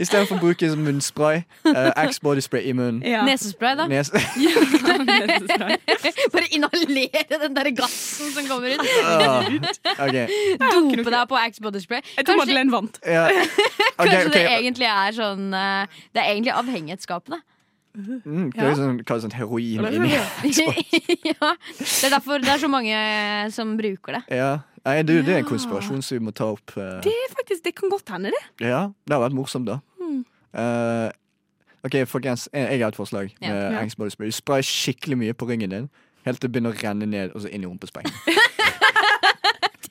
Istedenfor å bruke munnspray, uh, X-body spray i munnen. ja. Nesespray, da. Nes Nesespray. Bare inhalere den der gassen som kommer ut. Ah, ok, Dope deg på Axe Body Spray. Jeg tror Kanskje, Madeleine vant. ja. Ok, kanskje det ok. egentlig er sånn eh, Det er egentlig avhengighetsskapende. Mm, det er jo sånn, hva er det sånn heroin inni ja. Det er derfor det er så mange som bruker det. ja. Nei, du, det er en konspirasjon som vi må ta opp. eh, Det er faktisk, det kan godt hende, det. Ja, det har vært morsomt, da. Hmm. Eh, ok, folkens, jeg, jeg har et forslag. Ja. med Angst Body Spray. Du sprayer skikkelig mye på ryggen din, helt til det begynner å renne ned og så inn i rumpesprengen.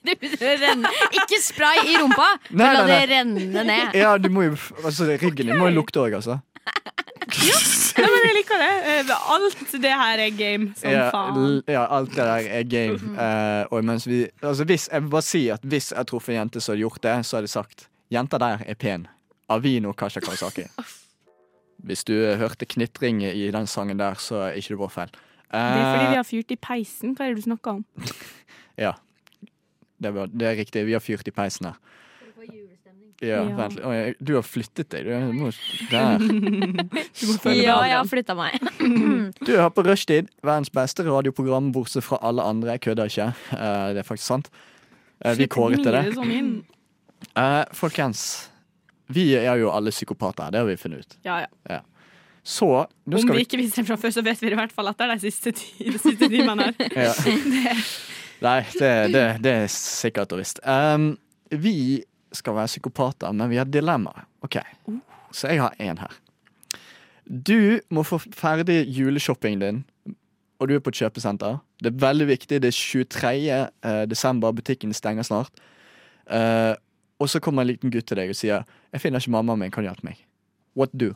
Det renner. Ikke spray i rumpa, Nei, men la det nei, renne ned. Ja, du må jo Altså, ryggen din må jo lukte òg, altså. Nei, men jeg liker det. Eh, Alt det her er game som ja, faen. Mhm. l- ja, alt det der er game. Eh, og mens vi Altså, hvis Jeg vil bare si at hvis jeg hadde truffet en jente som hadde gjort det, så hadde jeg sagt Jenta der er pen. Avino Kasha Kawasaki. Hvis du eh, hørte knitring i den sangen der, så er ikke det vår feil. Det er fordi Eh, vi har fyrt i peisen. Hva er det du snakker om? Ja. Eh, Det, var, det er riktig. Vi har fyrt i peisen her. Ja, Ja. vent litt. Å, jeg- Du har flyttet deg. Du, er- nå- der. Ja, jeg har flytta meg. du har på rushtid verdens beste radioprogram, bortsett fra alle andre. Jeg kødder ikke. Eh, det er faktisk sant. Eh, vi kåret til det. Sånn inn. Eh, folkens, vi er jo alle psykopater. Det har vi funnet ut. Ja, ja. Så nå Om skal vi vi ikke visste det fra før, så vet vi det i hvert fall etter de siste, ti, de siste timene her. ja. Nei, det, det, det er sikkert og visst. Um, vi skal være psykopater, men vi har dilemmaer. Ok, Så jeg har én her. Du må få ferdig juleshoppingen din, og du er på et kjøpesenter. Det er veldig viktig. Det er 23. eh, desember, butikken stenger snart. Eh, og så kommer en liten gutt til deg og sier 'Jeg finner ikke mammaen min, kan du hjelpe meg?' What do?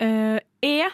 Eh, jeg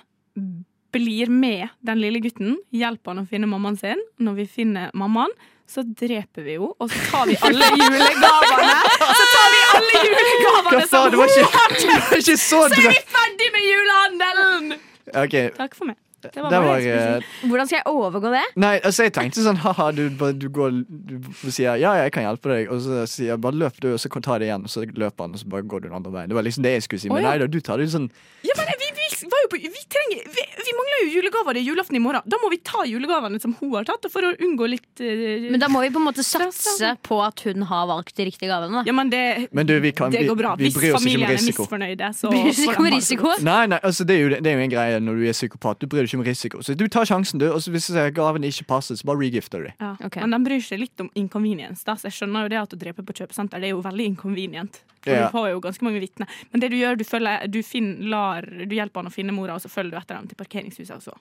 blir med den lille gutten, hjelper han å finne mammaen sin. Når vi finner mammaen, så dreper vi henne, og så tar vi alle julegavene! Så tar vi alle Hva julegavene faen, det var ikke, det var ikke så drøyt! Ferdig med julehandelen! Ok, Takk for meg. Det det bare var det jeg skulle si. eh, Hvordan skal jeg overgå det? Nei, altså jeg tenkte sånn Haha, du, bare- du går Du sier ja, ja, jeg kan hjelpe deg Og så sier jeg bare løp du Og så kan jeg ta det igjen Og så løper han Og så bare går du den andre veien Det var liksom det jeg skulle si Men Å, ja. nei da, du tar det sånn Ja, men vi, vi, var jo på, vi, trenger, vi, vi mangler jo julegaver. Det er julaften i morgen. Da må vi ta julegavene som hun har tatt, for å unngå litt eh, Men da må vi på en måte satse på at hun har valgt de riktige gavene. da. Ja, men det, Men du, vi kan det vi- går bra. vi Hvis bryr oss ikke om familien er risiko. misfornøyde, så får de Risiko, ha det så risiko. godt. Nei, nei, altså det er jo, det er jo en greie Når du er psykopat Du bryr deg ikke om risiko Så du tar sjansen du Og så hvis eh, gaven ikke passer Så bare regifter du det Ja. Ok. Men de bryr seg litt om inconvenience. Da. Så jeg skjønner jo det at å drepe på kjøpesenter det er jo veldig inconvenient. For Ja. Du får jo ganske mange vitner. Men det du gjør, du, følger, du, finn- lar, du hjelper han å finne mora, og så følger du etter ham til parkeringshuset også.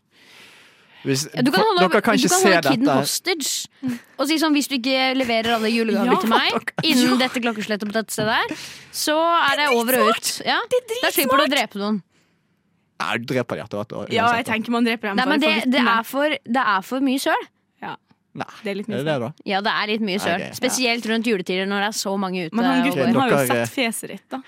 Hvis, Ja, Du kan holde, Dere kan du ikke kan se holde kiden dette hostage og si sånn hvis du ikke leverer alle julegaver Ja, til meg innen dette klokkeslettet på dette stedet, her, så er det over og ut. Ja, da slipper du å drepe noen. Nei, du dreper de etter hvert og- Ja, uansett, jeg da. tenker man dreper dem Nei, bare men det, for det, vitnene. er for, det er for mye søl. Ja, Nei, det er litt er mye det det da? Ja, det er litt mye søl. Ok, ja. Spesielt rundt juletider når det er så mange ute. Men han og gutten går. har jo Dere- sett fjeset ditt, da.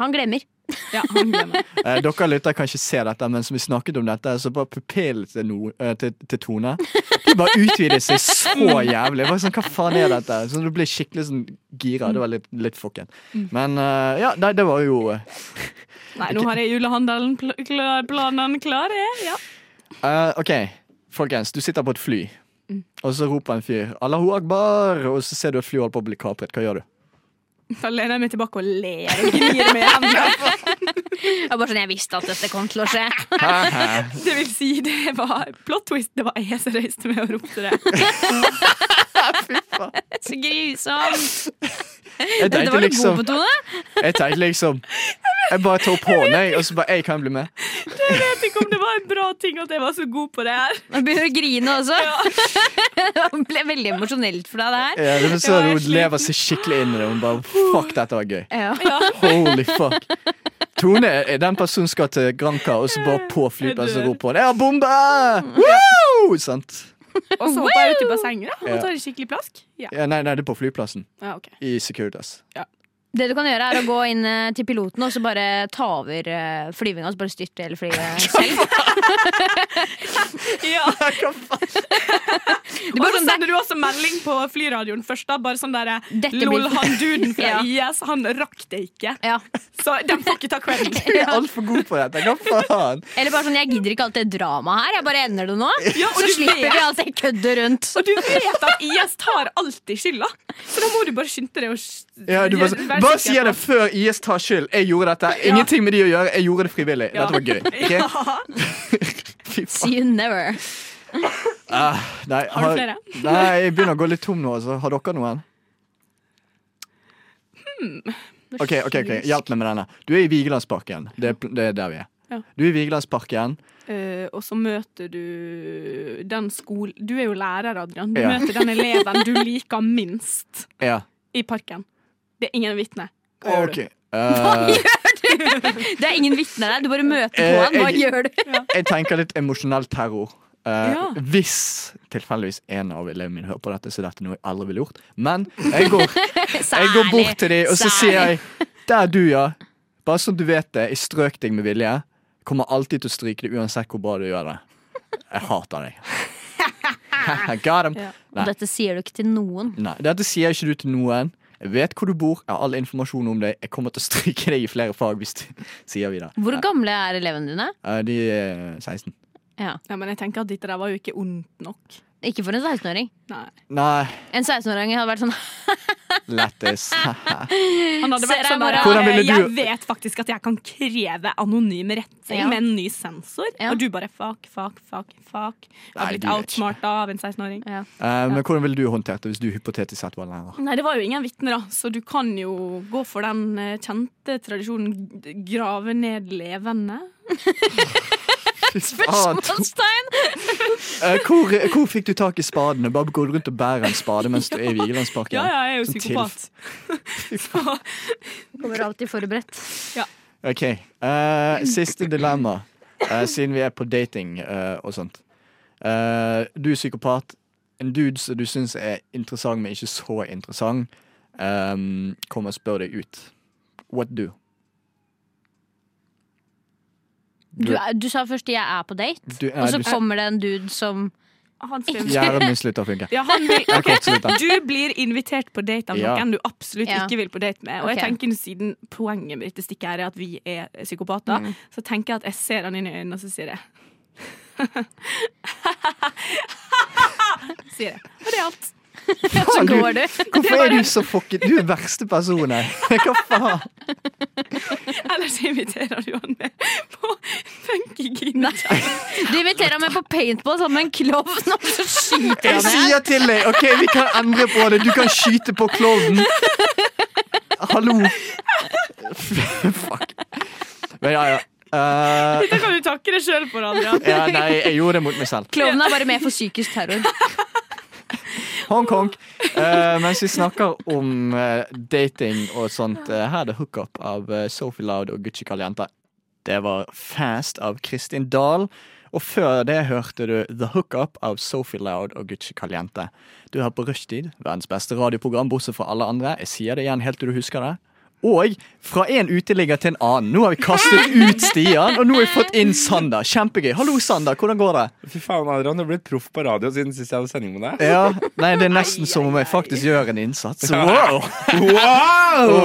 han glemmer. Ja, han glemmer. Eh, dere lytter kan ikke se dette, men som vi snakket om dette, så bare pupillen til, no, eh, til, til Tone De bare utvidet seg så jævlig. Jeg var sånn, Hva faen er dette? Så du ble skikkelig sånn gira. Det var litt, litt fucken. Mm. Men eh, ja, nei, det var jo eh, Nei, nå har jeg julehandelen pl klar, planene klare. Ja. eh, OK, folkens. Du sitter på et fly, Mm. og så roper en fyr 'Allahu akbar', og så ser du et fly holder på å bli kapret. Hva gjør du? Da lener jeg meg tilbake og ler og gnir med hendene. Jeg, er bare sånn, jeg visste at dette kom til å skje. Det vil si, det var plot twist. Det var jeg som reiste meg og ropte det. Så grusomt. Jeg Dette tenkte var du god liksom på, Tone. Jeg, tenkte liksom, jeg bare tar opp hånden, jeg, og så bare 'Jeg kan bli med'. Jeg vet ikke om det var en bra ting at jeg var så god på det her. Nå begynner du å grine også. det ble veldig emosjonelt for deg, det her. Ja, det var Jeg sånn var Hun helt lever seg skikkelig inn i det. Hun bare 'Fuck, dette var gøy'. Ja. Holy fuck. Tone er den personen som skal til Granca, og så Eh, bare på flyplassen Jeg dør. roper hun 'Jeg har Mm. bombe!' Woo! Sant? Og så hoppa jeg ut i bassenget da, og Ja. tar en skikkelig plask. Ja, Ja, nei, nei, det er på flyplassen. ja ok. I Securitas. Ja. Det du kan gjøre, er å gå inn eh, til piloten og så bare ta over eh, flyvinga. Og så bare styrte hele flyet selv. Ja. Du Og bare så sånn, det, sender du også melding på flyradioen først. da, Bare sånn der Dette blir- Lol, han duden Ja. fra IS, han rakk det ikke. ja. Så de får ikke ta creden. Du er altfor god på dette. Hva faen? Eller bare sånn, jeg gidder ikke alt det dramaet her. Jeg bare ender det nå. Ja, og så du slipper vet- vi alt det køddet rundt. Og du vet at IS tar alltid skylda, så da må du bare skynde deg. å s- Ja, du bare, gjøre- så- være bare sikker sier på- det før IS tar skyld. Jeg gjorde dette. Ingenting med de å gjøre. Jeg gjorde det frivillig. Ja. Dette var gøy. ok? Ja. Fy faen. See you never. Nei, Har du flere? Nei, jeg begynner å gå litt tom nå. Altså. Har dere noen? Ok, ok, ok, Hjelp meg med denne. Du er i Vigelandsparken. Det er, pl- det er der vi er. Ja. Du er i Vigelandsparken. Eh, og så møter du den skolen Du er jo lærer, Adrian. Du Ja. møter den eleven du liker minst Ja. i parken. Det er ingen vitne. Hva gjør Ok. Eh, Det er ingen vitner der. Du bare møter på Eh, han. Hva jeg- gjør du? jeg tenker litt emosjonell terror. Eh, Ja. Hvis tilfeldigvis en av elevene mine hører på dette, så er dette noe jeg aldri ville gjort. Men jeg går Jeg går bort til dem, og så sier jeg Der du, ja. Bare så du vet det, jeg strøk deg med vilje. Kommer alltid til å stryke det, uansett hvor bra du gjør det. Jeg hater deg. Got him. Ja. Og dette sier du ikke til noen. Nei, dette sier ikke du til noen. Jeg vet hvor du bor, jeg har all informasjon om deg. Jeg kommer til å stryke deg i flere fag, hvis du sier vi det. Hvor gamle er elevene dine? Eh, De er 16. Ja. Ja, men jeg tenker at dette der var jo ikke ondt nok. Ikke for en 16-åring. Nei. Nei, En 16-åring hadde vært sånn lættis. Han hadde Ser vært jeg sånn bare- der, Hvordan ville Jeg du- vet faktisk at jeg kan kreve anonym retting Ja. med en ny sensor. Ja. Og du bare fuck, fuck, fuck. fuck Har Nei, blitt du vet outsmarta av en 16-åring. Eh, Men hvordan ville du håndtert det hvis du hypotetisk sett var lærer? Nei, det var jo ingen vitner, da, så du kan jo gå for den eh, kjente tradisjonen g- grave ned levende. Spørsmål! Eh, hvor, hvor fikk du tak i spaden? Bare går du rundt og bærer en spade mens du er i Vigelandsparken? Ja, ja, jeg er jo Som psykopat. så Kommer alltid forberedt. Ok, eh, Siste dilemma, eh, siden vi er på dating eh, og sånt. Eh, du er psykopat. En dude som du syns er interessant, men ikke så interessant, ehm, kommer og spør deg ut. What do? Du, er- du sa først 'jeg er på date', Du- nei, og så du- kommer det en dude som han spør meg. Hjernen min slutter å funke. Ja, han vil, Jeg kan ikke slutte. Du blir invitert på date av Ja. noen du absolutt Ja. ikke vil på date med. Og jeg Ok. tenker nå siden poenget med dette stikket her er at vi er psykopater, så tenker jeg at jeg ser han inn i øynene og så sier jeg Sier jeg. Og det er alt. Faen, går du. Hvorfor er du så fucket? Du er verste personen her. Hva faen? Ellers inviterer du han med på funkygine. Du inviterer meg på paintball sammen med en klovn, og så skyter Jeg han ned. sier til deg, ok, vi kan endre på det. Du kan skyte på klovnen. Hallo. Fuck. Men ja, ja. Eh, Da kan du takke deg sjøl for, Adrian. ja. Nei, jeg gjorde det mot meg selv. Klovnen er bare med for psykisk terror. Hongkong. Uh, mens vi snakker om eh, dating og sånt, eh, her er det Hookup av eh, Sophie Loud og Gucci Caliente. Det var Fast av Kristin Dahl. Og før det hørte du The Hookup av Sophie Loud og Gucci Caliente. Du hører på Rushtid, verdens beste radioprogram bortsett fra alle andre. Jeg sier det igjen helt til du husker det. Og fra en uteligger til en annen. Nå har vi kastet ut Stian, og nå har vi fått inn Sander. Kjempegøy. Hallo, Sander. Hvordan går det? Fy faen, Adrian, du er blitt proff på radio siden sist jeg hadde sending med deg. Ja, nei, det er nesten som om jeg faktisk gjør en innsats. Wow!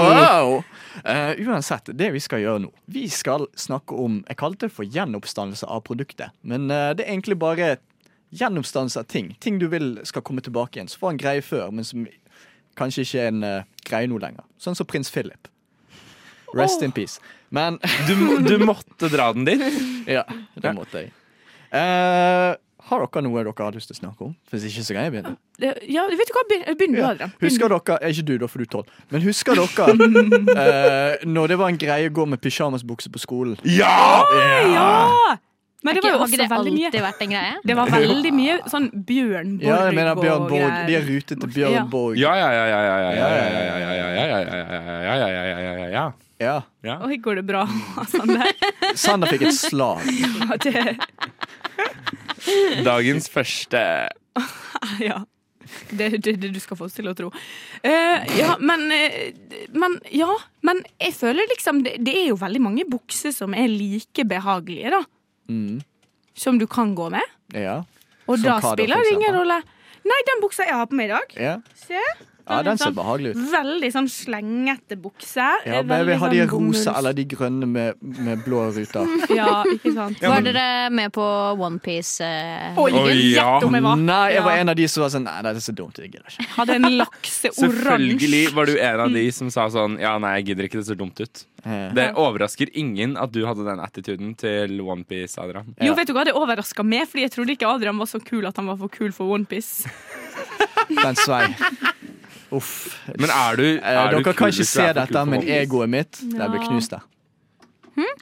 Eh, uansett, det vi skal gjøre nå Vi skal snakke om Jeg kalte det for gjenoppstandelse av produktet. Men eh, det er egentlig bare gjenoppstandelse av ting. Ting du vil skal komme tilbake igjen. Som var en greie før, men som kanskje ikke er en eh, greie nå lenger. Sånn som prins Philip. Rest in peace. Men Du, du måtte dra den dit. ja, det måtte jeg. Eh, har dere noe dere har lyst til å snakke om? Hvis ikke, så kan jeg begynne. Ja, vet du hva? Begynn begynn du, Ja. Adrian. Begynn. Husker dere eh, Ikke du, da, for du er tolv. Men husker dere eh, når det var en greie å gå med pysjamasbukse på skolen? Ja! Ja! Men det var Har jo ikke også det veldig mye. alltid vært en greie? Det var veldig mye sånn Bjørn Borg Ja, jeg mener Bjørn og Borg. greier. De er rutet til Ja. Bjørn Borg. Ja, ja, ja, ja, ja, ja, ja, ja, ja, ja, ja, ja, ja, ja, ja, ja, ja, ja. Ja. Oi, går det bra? Sånn der. Sander fikk et slag. Ja, det- Dagens første ja. Det er det, det du skal få oss til å tro. Eh, ja, men, eh, men Ja, men jeg føler liksom det, det er jo veldig mange bukser som er like behagelige, da. Mm. Som du kan gå med. Ja. Og Som da hva da, spiller for det ingen eksempel? rolle. Nei, den buksa jeg har på meg i dag. Ja. Se. ja, den ser sånn behagelig ut. Veldig sånn slengete bukse. sånn Ja, men jeg vil ha de rosa eller de grønne med, med blå ruter. Ja, ikke sant. Var dere med på OnePiece? Eh? Oi, Oi, ja. gjett om jeg var. Nei, jeg var Ja. en av de som var sånn Nei, dette er så dumt. Jeg gidder ikke. Hadde en lakseoransje. Selvfølgelig var du en av de som sa sånn Ja, nei, jeg gidder ikke, det ser dumt ut. Eh, Det overrasker ingen at du hadde den attituden til OnePiece, Adrian. Jo, vet du hva, det overraska meg, fordi jeg trodde ikke Adrian var så kul at han var for kul for OnePiece. Den svei. Uff. Men er du, er Eh, du Dere kul kan hvis du ikke se er for kul dette, for men OnePiece? egoet mitt det blir Ja. knust. der.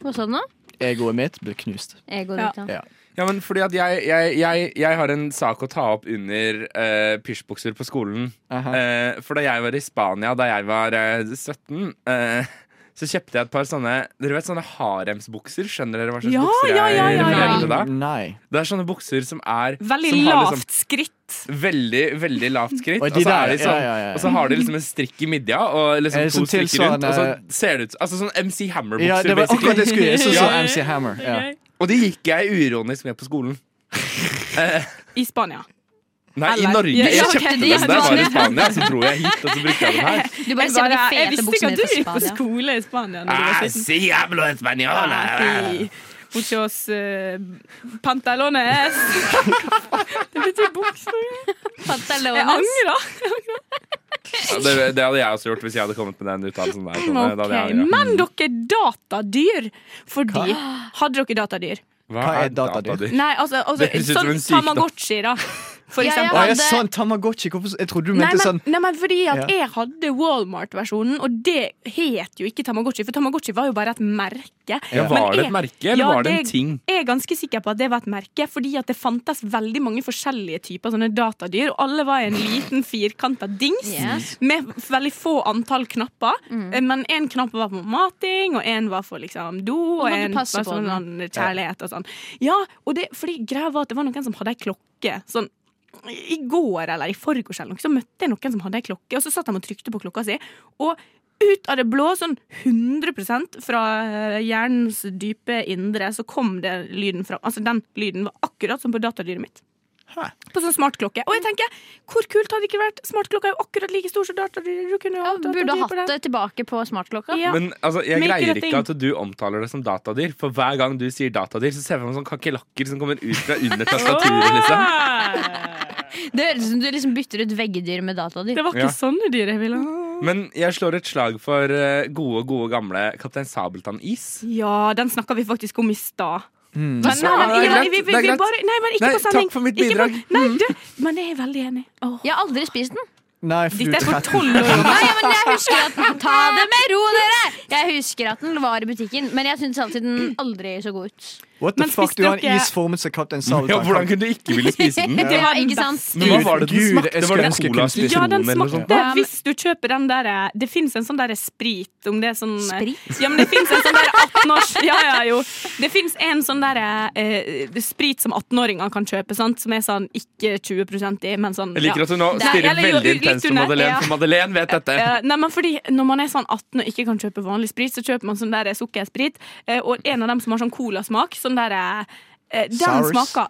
Hva sa du nå? Egoet mitt blir knust. Jeg går Ja. ut, ja. Ja. Ja, men fordi at jeg, jeg, jeg, jeg har en sak å ta opp under eh, pysjbukser på skolen. Aha. Eh, for da jeg var i Spania da jeg var eh, 17, eh, så kjøpte jeg et par sånne Dere vet sånne haremsbukser? Skjønner dere hva slags Ja, bukser jeg ja, ja, ja, ja. refererer til da? Nei. Det er sånne bukser som er Veldig som har lavt liksom skritt. Veldig, veldig lavt skritt. Og Og, de så er der, de sånn, ja, ja, ja. og så har de liksom en strikk i midja og liksom to Eh, som strikker rundt. Og så tilsvarende- ser det ut Altså sånn MC Hammer-bukser, Ja, det var basically. akkurat det jeg skulle gjøre. Sånn som Ja. MC Hammer. Ja. Og de gikk jeg uironisk med på skolen. I Spania. Nei, Eller- i Norge. Ja, Jeg ok, kjøpte de dem gikk da jeg var i vanlig. Spania, så dro jeg hit, og så brukte jeg dem her. Du bare ser på de Bare, jeg fete visste ikke buksene at du gikk fra på Spania. skole i Spania. Når du Ah, var 17. si hablo español. Nei, Borti hos eh, pantalones. det betyr bukser. Jeg Pantalones. angrer. Det, det hadde jeg også gjort hvis jeg hadde kommet med den uttalelsen der. Tone. Da Ok, hadde jeg angret. Mm. Men dere er datadyr. Fordi Hadde dere datadyr? Hva Hva er er datadyr? datadyr? Nei, altså, altså Det høres ut som sånn en sykdom. Tamagotchi, da. For Ja, ja. eksempel. Å, jeg, hadde- sånn Tamagotchi. Hvorfor Jeg trodde du Nei mente men, sånn nei, men fordi at Ja. jeg hadde Walmart-versjonen, og det het jo ikke Tamagotchi, for Tamagotchi var jo bare et merke. Ja, Men var det jeg- et merke, eller Ja, var det en det- ting? Jeg er ganske sikker på at det var et merke, fordi at det fantes veldig mange forskjellige typer sånne datadyr, og alle var i en liten firkanta dings Yes. med veldig få antall knapper. Eh, Men én knapp var for mating, og én var for liksom do, og måtte du én var passe på sånn kjærlighet og sånn. Ja, og det, fordi greia var at det var noen som hadde ei klokke. sånn i går eller i forgårs eller noe, så møtte jeg noen som hadde ei klokke, og så satt de og trykte på klokka si. Og ut av det blå, sånn 100 fra eh, hjernens dype indre, så kom det lyden fra Altså, den lyden var akkurat som på datadyret mitt. Hæ. På sånn smartklokke. Og jeg tenker, hvor kult hadde det ikke vært? Smartklokka er jo akkurat like stor som datadyret. Du kunne jo Ja, hatt burde datadyr på hatt den. det tilbake på smartklokka. Ja. Men altså, jeg Make it a greier ikke thing. at du omtaler det som datadyr. For hver gang du sier datadyr, så ser jeg for meg sånn kakerlakker som kommer ut fra under tastaturet. liksom. Det høres ut som du liksom bytter ut veggedyr med datadyr. Det var Ja. ikke sånne dyr jeg ville ha. Men jeg slår et slag for eh, gode, gode gamle Kaptein Sabeltann-is. Ja, den snakka vi faktisk om i stad. Hva Nei, sa men, du? det er nei, greit, vi, vi, det er vi greit. bare, nei, men ikke Nei, på sending. takk for mitt Ikke på- bidrag. Mm. Nei, du, men jeg er veldig enig. Åh. Jeg har aldri spist den. Nei, for du Dette er for tretten. tolv år. Nei, ja, men jeg husker at den Ta det med ro, dere! Jeg husker at den var i butikken, men jeg syns alltid den aldri så god ut. What the Men fuck, spiste du har en dere- is formet som Kaptein Ja, Sabeltann. hvordan kunne du ikke ville spise den? Det var den ikke sant? Men hva var det den Gud, smakte? jeg Var det skulle ønske jeg cola kunne spist sitron Ja, den eller noe sånt? smakte Ja, men- Hvis du kjøper den der eh, Det fins en sånn der sprit om det er sånn eh, Sprit? Ja, men det fins en sånn der 18-års Ja, ja, jo. Det fins en sånn der eh, sprit som 18-åringer kan kjøpe, sant? som er sånn ikke 20 i, men sånn Jeg liker at du nå Nei, stirrer eller jo, veldig litt intenst på under, Madeleine, ja. for Madeleine vet dette. Eh, nei, men fordi Når man er sånn 18 og ikke kan kjøpe vanlig sprit, så kjøper man sånn der sukkersprit. eh, og en av dem som har sånn colasmak, sånn der eh, Den Sours. smaker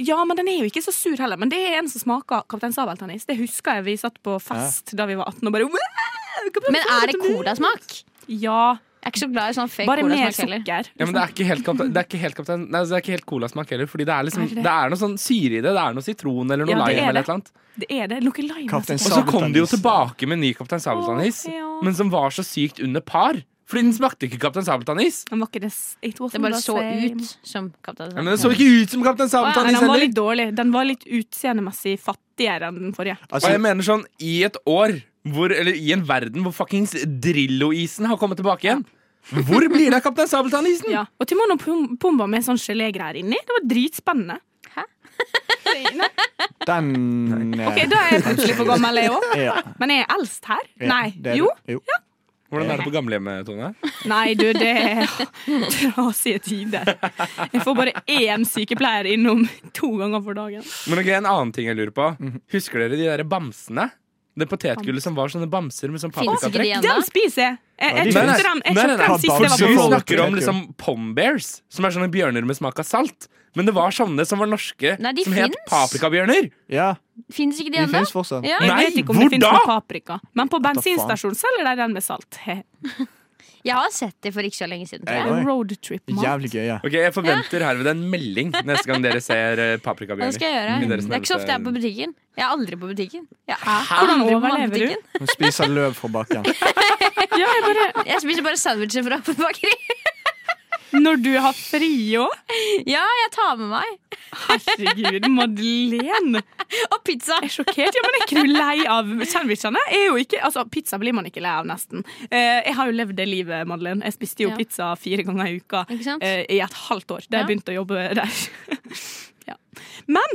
Ja, men den er jo ikke så sur heller. Men det er en som smaker Kaptein Sabeltann-is. Det husker jeg vi satt på fest da vi var 18 og bare «Wow, Kaptein Men er det Sabeltann-is!» colasmak? Ja. Jeg er ikke så glad i sånn fake Bare mer colasmak heller. sukker. Ja, men det er ikke helt kaptein, det er ikke helt, kaptein, nei, det er ikke helt colasmak heller, fordi det er, liksom, Er det det? det? er noe sånn syre i det. Det er noe sitron eller noe Ja, det er lime eller det. et eller annet. Det er det. Noe lime. Kaptein Og så kom de jo Sabeltann-is. tilbake med en ny Kaptein Sabeltann-is, Åh, ja. men som var så sykt under par. Fordi den smakte ikke Kaptein Sabeltann-is. Den var ikke det s- it wasn't Det bare the så same. ut som Kaptein Ja, men den så ikke ut som Kaptein Nei, Sabeltann-is den var heller. litt dårlig. Den var litt utseendemessig fattigere enn den forrige. Og jeg Altså, mener sånn, i et år hvor, Eller i en verden hvor fuckings Drillo-isen har kommet tilbake igjen. Hvor blir det av Kaptein Sabeltann-isen? Ja. Og Timon og Pum- Pumba med sånn gelégreier inni. Det var dritspennende. Nei, den eh, ok, Da er jeg plutselig for gammel, jeg òg. ja, Men er jeg eldst her? ja, Nei. det er Jo. det. jo. Hvordan er det på gamlehjemmet, Tone? Nei, du, det er trasige tider. Jeg får bare én sykepleier innom to ganger for dagen. Men ok, en annen ting jeg lurer på. Husker dere de der bamsene? Det potetgullet som var sånne bamser med sånn Finnes ikke de paprikatrekk? igjen da? Den spiser jeg! Jeg, jeg de Nei, nei, kjøpte dem, jeg nei, kjøpte nei, dem nei. sist jeg var på Du Follo. snakker om liksom pombears, som er sånne bjørner med smak av salt. Men det var sånne som var norske, Nei, de som het finnes. paprikabjørner. Ja, Fins ikke de de ennå? finnes fortsatt. Ja. Jeg Nei, vet ikke om hvor det finnes da? noe paprika, men på da faen? bensinstasjonen selger de den med salt. Jeg har sett de for ikke så lenge siden. Tror jeg. Jeg òg. Roadtrip-mat. Jævlig gøy, ja. Ok, Jeg forventer herved en melding neste gang dere ser eh, Ja, Det paprikabjørner. skal jeg I gjøre. deres Det er ikke så ofte jeg er på nærmeste- butikken. Jeg er aldri på butikken. Jeg, er Hvordan aldri på overlever du? matbutikken. Hun spiser løv fra bakken. Ja, jeg bare, Jeg spiser bare sandwicher fra bakeri. når du har fri òg? Ja, jeg tar med meg. Herregud, Madeleine! Og pizza. Jeg er sjokkert. Ja, men jeg er ikke du lei av sandwichene? Jeg er jo ikke, altså, pizza blir man ikke lei av, nesten. Eh, jeg har jo levd det livet, Madeleine. Jeg spiste jo Ja. pizza fire ganger i uka Ikke sant? eh, i et halvt år da jeg Ja. begynte å jobbe der. ja. Men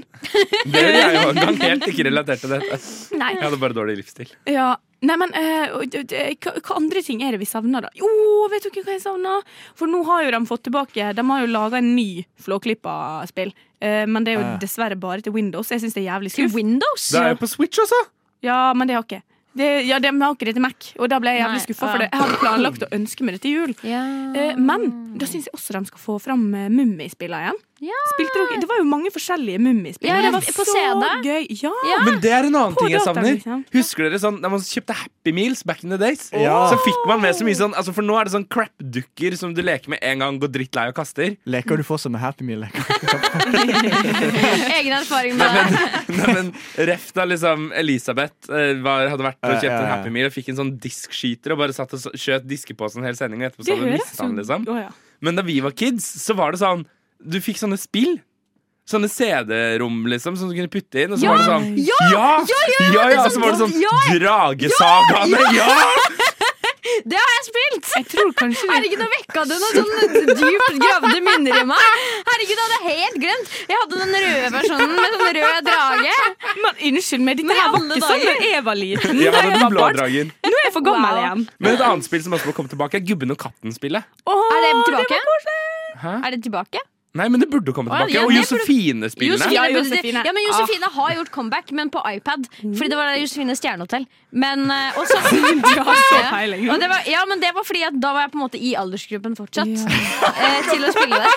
Dere er jo en gang helt ikke relatert til dette. Nei. Jeg hadde bare dårlig livsstil. Ja, nei, men eh, og d- d- hva, hva andre ting er det vi savner, da? Jo, vet dere hva jeg savner? For nå har jo de fått tilbake De har jo laga en ny Flåklypa-spill. Eh, men det er jo Ja. dessverre bare til Windows. Jeg syns det er jævlig Til skuff. Windows. Det er jo på Switch også! Ja, men det har ikke jeg. Det, ja, det, vi har ikke det til Mac, og da ble jeg jævlig Nei, skuffa. ja. For det. jeg hadde planlagt å ønske meg det til jul. Ja. Eh, men da syns jeg også de skal få fram uh, Mummifilmer igjen. Ja. Spilte dere, det var jo mange forskjellige Mummispill. Ja, og det var på så CD. gøy. Ja. Ja. Men det er en annen På ting jeg dataen, savner. liksom. Husker dere sånn, Da man kjøpte Happy Meals back in the days, Ja. så fikk man med så mye sånn altså For nå er det sånn crap-dukker som du leker med en gang, går drittlei og kaster. Leker du fortsatt med Happy Meal-leker? Egen erfaring Nei, med men, nei, men ref da liksom Elisabeth eh, var, hadde vært og Ja, kjøpt ja, en ja. Happy Meal og fikk en sånn diskskyter og bare satt og så- skjøt diskeposen hele sendingen, og etterpå så Det hadde du høres mista den, liksom. Å, ja. Men da vi var kids, så var det sånn Du fikk sånne spill. Sånne CD-rom liksom som du kunne putte inn. Og så Ja, var det sånn ja, ja, ja, ja, Så var det sånn ja, Dragesagaene! Ja! Det har jeg spilt! Jeg tror kanskje det Herregud, nå vekka du noen sånne dypt gravde minner i meg. Herregud, jeg hadde helt glemt. Jeg hadde den røde versjonen med sånn rød drage. Men unnskyld meg, dette her var alle ikke sånn dager. da jeg var liten. Jeg Da hadde jeg den var blå barn. dragen. Nå er jeg for gammel Wow. igjen. Men et annet spill som også må komme tilbake, er Gubben og katten-spillet. Åh, Er det tilbake? Hæ? Er det tilbake? Nei, men det burde komme Å, ja, tilbake. ja, Og det burde- Josefine-spillene. Josefine Ja, burde- Josefine. Ah. Mm. Ja, men Josefine har gjort comeback, men på iPad. Fordi det var Josefine Stjernehotell. Men eh, også Du har så peiling. Og det var, ja, men det var fordi at da var jeg på en måte i aldersgruppen fortsatt eh, til å spille det.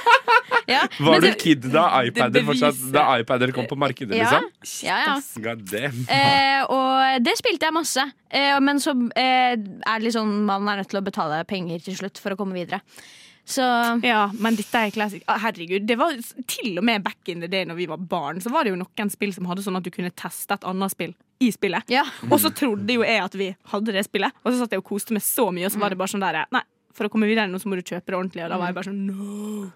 Ja, men Var du det- kid da iPader det fortsatt beviser- Da iPader kom på markedet, Ja, liksom? ja, ja. God damn. Eh, og det spilte jeg masse. Eh, men så eh, er det litt sånn man er nødt til å betale penger til slutt for å komme videre. Så Ja, men dette er classic. Ah, Herregud, det var s- til og med back in the day når vi var barn, så var det jo noen spill som hadde sånn at du kunne teste et annet spill i spillet. ja. Og så trodde jo jeg at vi hadde det spillet, og så satt jeg og koste meg så mye, og så var det bare sånn der Nei, for å komme videre nå så må du kjøpe det ordentlig, og da var jeg bare sånn no.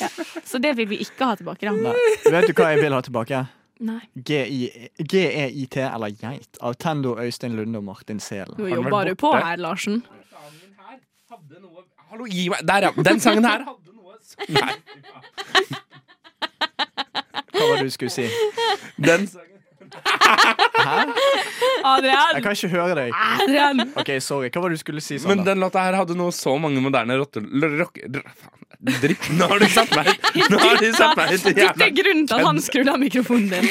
Ja. Så det vil vi ikke ha tilbake, da. Nei. Vet du hva jeg vil ha tilbake? Nei. G-I- GEIT, E eller Geit, av Tendo Øystein Lunde og Martin Har Selen. Nå den vært jobber du på borte? her, Larsen. Hallo, gi meg Der, ja! Den sangen her hadde noe som Nei. Hva var det du skulle si? Den sangen Jeg Adrian! kan ikke høre deg. Adrian. Ok, sorry. Hva var det du skulle si, Men Sander? den låta her hadde nå så mange moderne rotte... l- Rock... dr- faen, Dritt. Nå har du satt meg Nå har du satt meg ut i Dette jævla er grunnen til at han skrudde av mikrofonen din.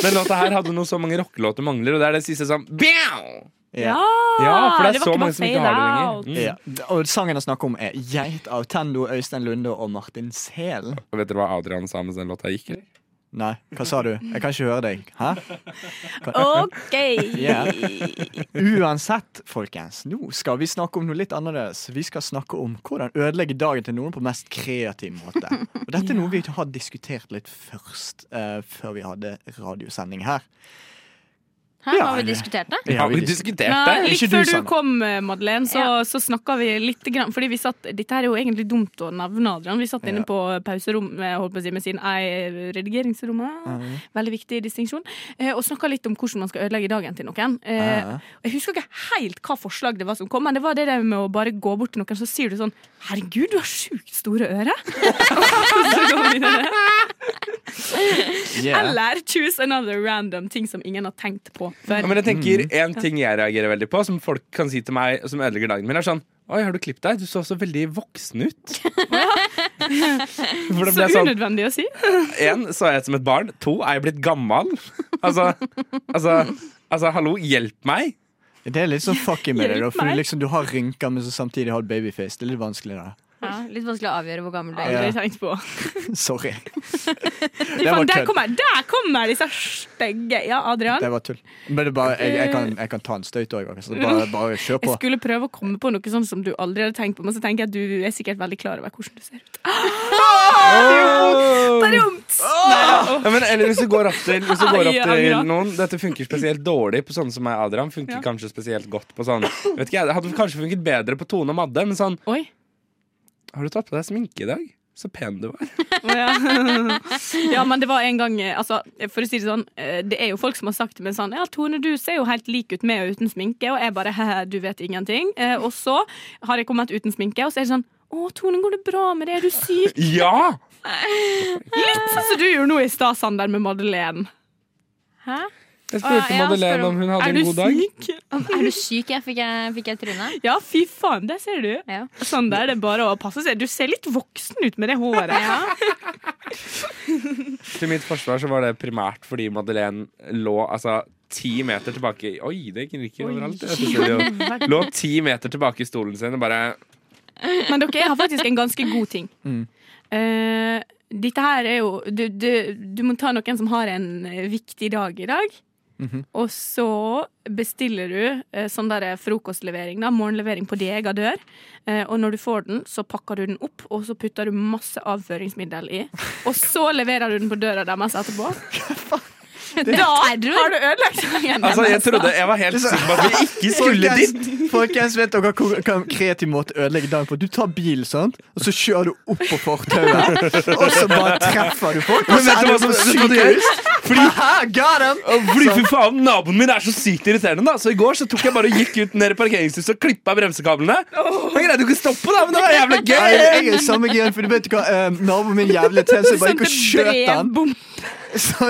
Den låta her hadde nå så mange rockelåter mangler, og det er det siste som Bjau! Ja. Ja, for det er Ah, var så ikke mange bare som ikke fade har det out. lenger. Mm. Ja. Og sangen jeg snakker om, er Geit av Tendo Øystein Lunde og Martin Selen. Og Vet dere hva Adrian sa mens den låta gikk? eller? Nei, hva sa du? Jeg kan ikke høre deg. Hæ? OK. Ja. Uansett, folkens, nå skal vi snakke om noe litt annerledes. Vi skal snakke om hvordan ødelegge dagen til noen på mest kreativ måte. Og dette er noe vi har diskutert litt først, eh, før vi hadde radiosending her. Her Ja, har vi det- diskutert det. Det har Har vi vi diskutert. diskutert Nei, det? litt Ikke du, sånn. før du Sanne. kom, eh, Madeleine, så, så snakka vi litt grann, fordi vi satt, Dette her er jo egentlig dumt å nevne, Adrian. Vi satt inne Ja. på pauserommet, holdt på å si, med sin ei eh, redigeringsrommet. Veldig viktig distinksjon. Eh, Og snakka litt om hvordan man skal ødelegge dagen til noen. Eh, Ja. Jeg husker ikke helt hva forslag det var som kom, men det var det der med å bare gå bort til noen, så sier du sånn Herregud, du har sjukt store ører! Og så går vi videre. Yeah. Eller choose another random ting som ingen har tenkt på Ja, før. men jeg tenker En ting jeg reagerer veldig på, som folk kan si til meg, som ødelegger dagen min, er sånn Oi, har du klippet deg? Du så så veldig voksen ut. For det Så ble sånn unødvendig å si. Én, så er jeg som et barn. To, er jeg blitt gammal? Altså, altså, altså hallo, hjelp meg! Det er litt sånn fucky med det. da, For Hjelp meg. du, liksom, du har rynker, men så samtidig har du babyface. Det er litt vanskelig. da Ja, litt vanskelig å avgjøre hvor gammel du er. Ja. Aldri tenkt på. Sorry. Fy var faen, der kødd. kommer, der kommer disse stygge Ja, Adrian. Det var tull. Men det er bare, jeg, jeg, kan, jeg kan ta en støyt òg. Altså. Bare, bare kjør Jeg på. skulle prøve å komme på noe sånn som du aldri hadde tenkt på, men så tenker jeg at du er sikkert veldig klar over hvordan du ser ut. Baromt! Ja, men, eller hvis du går opp til, hvis du går Ai, opp til Adrian. noen Dette funker spesielt dårlig på sånne som meg, Adrian. Funker kanskje spesielt godt på sånn Vet ikke jeg, Det hadde kanskje funket bedre på Tone og Madde, men sånn Oi. Har du tatt på deg sminke i dag? Så pen du var. Å, ja. ja, men det var en gang eh, altså, For å si det sånn, eh, det er jo folk som har sagt til meg sånn Ja, Tone, du ser jo helt lik ut med og uten sminke, og jeg bare «Hehe, du vet ingenting. Eh, Og så har jeg kommet uten sminke, og så er det sånn Å, Tone, går det bra med det? Er du syk? Ja! Litt sånn som du gjorde nå i stad, Sander, med Madeleine. Hæ? Jeg Å, spurte ja, spør Madeleine om- om hun hadde Er du en god dag. syk? Er du syk? Jeg fikk jeg, fikk jeg trynet? Ja, fy faen, der ser du. Ja. Sånn der, det er bare å passe seg. Du ser litt voksen ut med det håret. Til mitt forsvar så var det primært fordi Madeleine lå altså ti meter tilbake i Oi, det knirker overalt. Jeg synes det jo- Lå ti meter tilbake i stolen sin og bare Men dere, jeg har faktisk en ganske god ting. Mm. Eh, dette her er jo du, du, du må ta noen som har en eh, viktig dag i dag. Mhm. Og så bestiller du eh, sånn der frokostlevering, da, morgenlevering på din egen dør. Eh, og når du får den, så pakker du den opp, og så putter du masse avføringsmiddel i. Og så leverer du den på døra deres etterpå. Da har du ødelagt dagen Altså, jeg deres. trodde jeg var helt sikker på at vi ikke skulle dit. Folkens, folkens, vet dere hvor- hva en kreativ måte å ødelegge dagen på? Du tar bil, sant? og så kjører du opp på fortauet, og så bare treffer du folk. Og Men så vet du ender hva du som vet du hva på det gjør? sykehus. Fordi Haha, got him! Fordi for faen, Naboen min er så sykt irriterende. da Så I går så tok jeg bare og gikk ut ned i parkeringshuset og klippa bremsekablene. Han greide jo ikke å stoppe, da, men det var jævla Nei, gøy! jeg er i samme gen, for du vet hva, eh, naboen min jævlig tjent, så jeg bare gikk og skjøt han. brevbom- Så,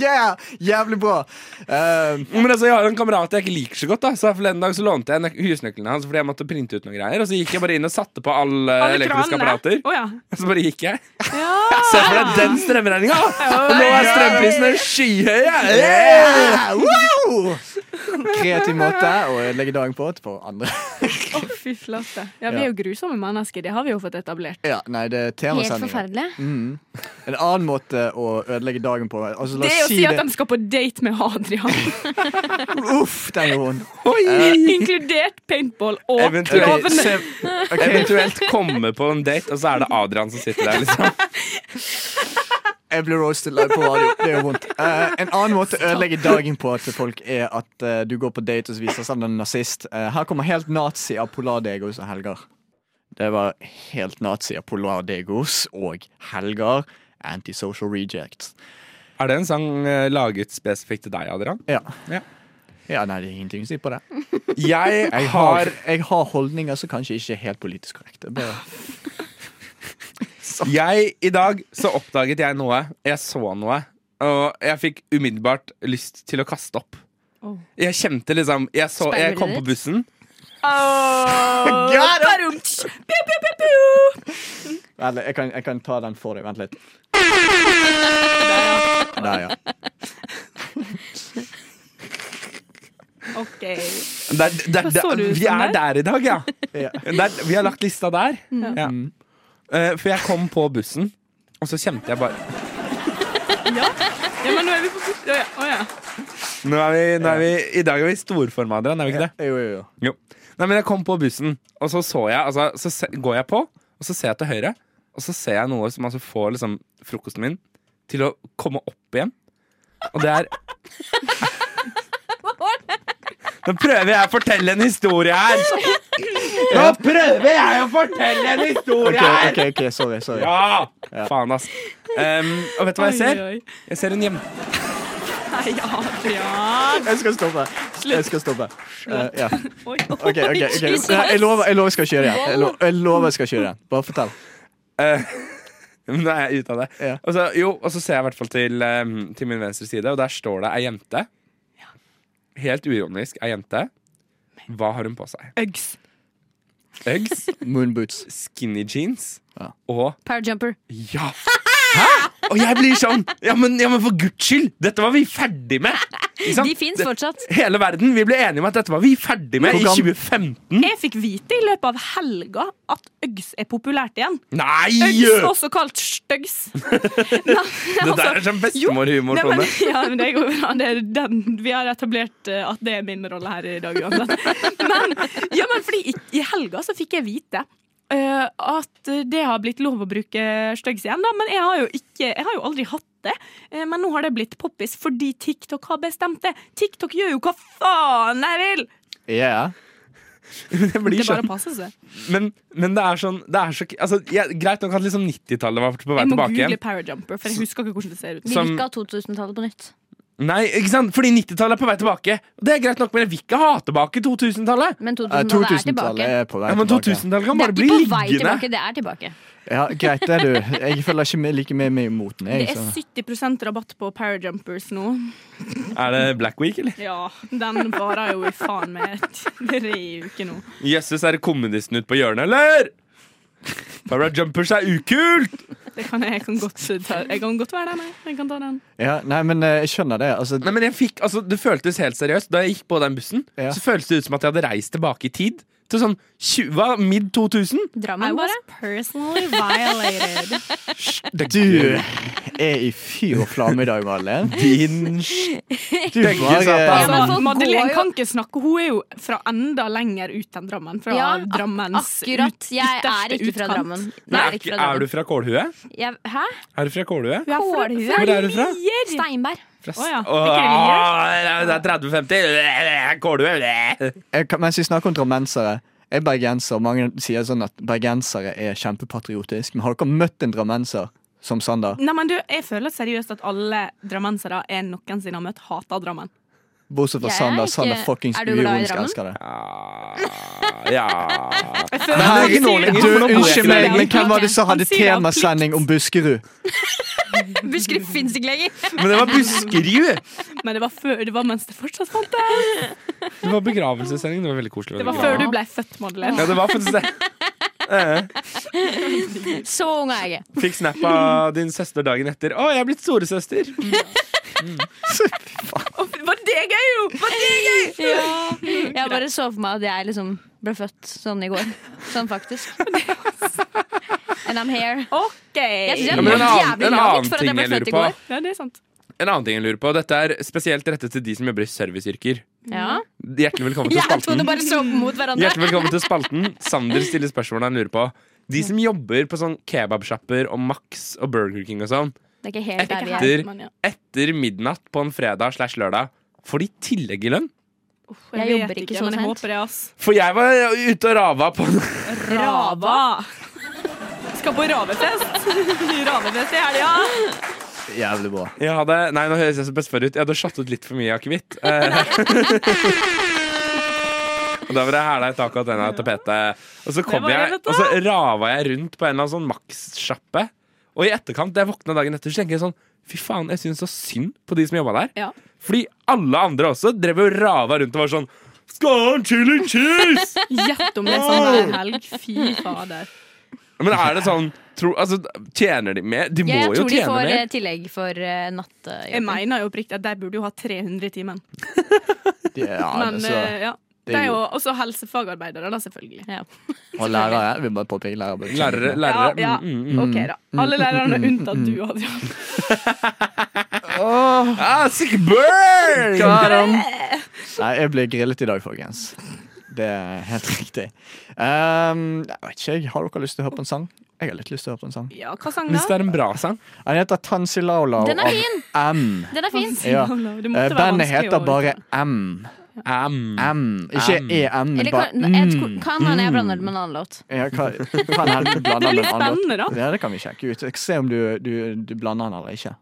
yeah, jævlig bra. Eh, Men altså, Jeg har jo en kamerat jeg ikke liker så godt. da Så Forleden dag så lånte jeg nøk- husnøklene hans fordi jeg måtte printe ut noen greier. Og så gikk jeg bare inn og satte på alle, Eh, Alle elektriske kranene. apparater. Å ja. Og så bare gikk jeg. Ja. Se for deg den strømregninga! Og nå er strømprisene skyhøye! Yeah! yeah, wow! Kreativ måte å ødelegge dagen på for andre. Å, fy flate. Ja, vi Ja. er jo grusomme mennesker. Det har vi jo fått etablert. Ja, nei, det er Helt temasending. forferdelig. En annen måte å ødelegge dagen på altså, la Det oss er å si si at det- de skal på date med Adrian, Uff, den gjorde vond. inkludert paintball og Eventuelt. Ok, klovn. se- ok. Eventuelt komme på en date, og så er det Adrian som sitter der. liksom Jeg blir roasted live på radio. Det gjør vondt. Eh, en annen måte å ødelegge dagen på til folk er at eh, du går på date og så viser seg en nazist. Eh, her kommer helt nazi av Polardegos og Helgar. Det var helt nazi av Polardegos og Helgar. Antisocial rejects. Er det en sang eh, laget spesifikt til deg, Adrian? Ja. Ja. Ja, nei, det er ingenting å si på det. Jeg Jeg har, har jeg har holdninger som kanskje ikke er helt politisk korrekte. Bare Jeg, I dag så oppdaget jeg noe. Jeg så noe. Og jeg fikk umiddelbart lyst til å kaste opp. Oh. Jeg kjente liksom Jeg, så, jeg Speilet kom på ditt? bussen. Åh, barumt. Piu, piu, piu, piu. Vent litt, jeg kan, jeg kan ta den for deg. Vent litt. Der, ja. OK. Det er- det er- Hva det er- så du vi som er der i dag, ja. Ja. Det er- vi har lagt lista der. Mm. Ja. Eh, for jeg kom på bussen, og så kjente jeg bare Ja, men nå er vi på Å ja. å ja. Nå er vi, nå er vi, I dag er vi i storform, Adrian. Er vi ikke det? Jo, jo, jo. Jo. Nei, men jeg kom på bussen, og så så jeg altså, Så se, går jeg på, og så ser jeg til høyre, og så ser jeg noe som altså får liksom, frokosten min til å komme opp igjen. Og det er Nå prøver jeg å fortelle en historie her! Nå prøver jeg å fortelle en historie OK, her! ok, ok, sorry. sorry Ja! Faen, ass. Um, og vet du hva jeg ser? Oi, oi. Jeg ser en jente. Nei, Adrian. Jeg skal stoppe. Jeg skal stoppe. Eh, ja. Oi, OK, ok, ok Nei, jeg lover jeg lover jeg skal ikke gjøre det igjen. Jeg lover jeg, lover jeg skal ikke gjøre det igjen. Bare fortell. Eh, Men nå er jeg ute av det. Ja. Og, så, jo, og så ser jeg i hvert fall til, eh, til min venstre side, og der står det ei jente. Helt uironisk ei jente. Hva har hun på seg? Uggs. Uggs, Moonboots. skinny jeans Ja. og Parajumper. ja! Hæ?! Og jeg blir sånn! Ja men, ja, men for guds skyld! Dette var vi ferdig med! Ikke sant? De fins Det- fortsatt. Hele verden, Vi ble enige om at dette var vi ferdig med i Hvor gammel- Hm? 2015. Jeg fikk vite i løpet av helga at Uggs er populært igjen. Uggs, altså. Nei! også kalt støggs. Det der er sånn bestemorhumor, Nei, men, Tone. ja, men det går bra. Det er den, vi har etablert eh, at det er min rolle her i dag uansett. Men, ja, men fordi i, i helga så fikk jeg vite eh, at det har blitt lov å bruke styggs igjen, da. Men jeg har jo, ikke, jeg har jo aldri hatt det. Eh, men nå har det blitt poppis fordi TikTok har bestemt det. TikTok gjør jo hva faen jeg vil! Yeah. Det Det blir er bare sånn. å passe seg. Men, men det er sånn det er så, altså, jeg, Greit nok at liksom 90-tallet var på vei Jeg må tilbake igjen. google parajumper, for jeg husker ikke hvordan det ser ut. Vi Som- vil ikke ha 2000-tallet på nytt. Nei, ikke sant? Fordi 90-tallet er på vei tilbake. Og Det er greit nok, men jeg vil ikke ha tilbake 2000-tallet. Men Eh, 2000-tallet er 2000-tallet tilbake. er på vei Ja, men tilbake. 2000-tallet kan Det er bare bli ikke på vei liggende. tilbake, det er tilbake. Ja, greit det, du. Jeg følger ikke med, like med meg i moten. Det Jeg, er så. 70 rabatt på parajumpers nå. Er det Black Week, eller? Ja, den varer jo i faen meg tre uker nå. Jøsses, er det kommunisten ute på hjørnet, eller? Para Jumpers er ukult! Det kan jeg, jeg, kan godt, ta, jeg kan godt være den. Jeg. jeg kan ta den. Ja, nei, men eh, jeg skjønner det. Altså, Nei, men jeg fikk, altså, Det føltes helt seriøst. Da jeg gikk på den bussen, Ja. så føltes det ut som at jeg hadde reist tilbake i tid. Til sånn tju- hva, mid 2000? I Drammen, was bare. personally violated. du er i fyr og flamme i dag, Madeleine. Din Du Tenker Ja, men bare folk går Altså, Madeleine jo- kan ikke snakke. Hun er jo fra enda lenger ut enn Drammen. Fra Ja, ak- Drammens Akkurat. ut- Jeg er ytterste ikke fra utkant. Drammen. Nei, Jeg er, er ikke ikke- fra er du Drammen. fra Kålhue? Jeg, hæ? Er du fra Kålhue? Hun er fra- Kålhue? fra Hvor er du fra? Lier. Steinberg. Å ja. Åh, Er ikke det Lier? det er 30-50. Kålhue. jeg, kan- Mens vi snakker om drammensere Jeg er bergenser, og mange sier sånn at bergensere er kjempepatriotisk Men har dere møtt en drammenser som Sander? Nei, men du, jeg føler seriøst at alle drammensere jeg noensinne har møtt, hater Drammen. Bortsett fra Jeg Sander. er ikke- Sander fuckings Er du glad i uironisk Drammen? elsker det. Ja Jeg føler Nei, at ikke nå sier lenger. det. Du, for nå bor jeg unnskyld ikke meg, der. men hvem var det som Han hadde sier det av temasending om Buskerud? Buskerud fins ikke lenger. Men det var Buskerud! plikt, Men det var, før, det var mens det fortsatt fant det. Det var begravelsessending. Det var veldig koselig. Det var før du ble født, Madeleine. Ja, det var faktisk det. Eh, Så ung er jeg ikke. Fikk snap av din søster dagen etter. Å, jeg er blitt storesøster! Var det gøy, jo? Var det gøy? Jeg bare så for meg at jeg liksom ble født sånn i går. Sånn faktisk. And I'm here. OK. Jeg Ja, synes jeg har men en levd annen, jævlig en langt annen for at jeg ting ble jeg født lurer i på går. Ja, det er sant. En annen ting jeg lurer på Dette er spesielt rettet til de som jobber i serviceyrker. Ja. Hjertelig velkommen til Jeg og spalten. Tone bare så mot hverandre. Hjertelig velkommen til spalten. Sander stiller spørsmål han lurer på. De som jobber på sånn kebabsjapper og Max og Burger King og sånn, Det er ikke helt der vi er. etter, men ja. etter midnatt på en fredag slash lørdag, får de tillegg i lønn? Jeg, Jeg vet jobber ikke, ikke sånn så men jeg sent. håper det, ass. For jeg var ute og rava på Rava. Skal på ravefest. ravefest i helga. Jævlig bra. Jeg hadde, Nei, nå høres jeg så bestefar ut. Jeg hadde shot ut litt for mye akevitt. Eh, Og da var det hæla i taket og tenna i tapetet. Og så kom Det var jeg, det, vet du. og så rava jeg rundt på en eller annen sånn Max-sjappe. Og i etterkant, da jeg våkna dagen etter, så tenker jeg sånn Fy faen, jeg syns så synd på de som jobba der. Ja. Fordi alle andre også drev og rava rundt og var sånn Skal han chili cheese? Gjett om det er sånn hver helg. Fy fader. Men er det sånn tro, altså, Tjener de mer? De må Jeg jo tror de tjene får eh, mer. tillegg for eh, Jeg nattjobb. mener jo oppriktig at de burde jo ha 300 i timen. De, ja, Men altså, eh, ja. det Det er er jo jo- også helsefagarbeidere, da, selvfølgelig. Ja. og lærere. Vi må påpeke lærere. Lærere, Ja, lærere. ja. Mm, mm, mm. OK, da. Alle Mm. lærerne unntatt du, Adrian. Ah, sick burn! Nei, jeg ble grillet i dag, folkens. Det er helt riktig. Ehm, jeg vet ikke, jeg. Har dere lyst til å høre på en sang? Jeg har litt lyst til å høre på en sang. Ja, hva sang Hvis det da? er en bra sang. Den heter Tansi Laulao Den er av fin. M. Den er fin. Ja. Det måtte Eh, Bandet være vanskelig heter å- bare M. Am. M. Ikke E M. EM, men Eller bare kan, jeg tror- mm. kan hende jeg blander det med en annen låt. Ja, hva, kan jeg blande Det den blir andre? spennende, da. Ja, det kan vi sjekke ut. Se om du, du, du blander den eller ikke.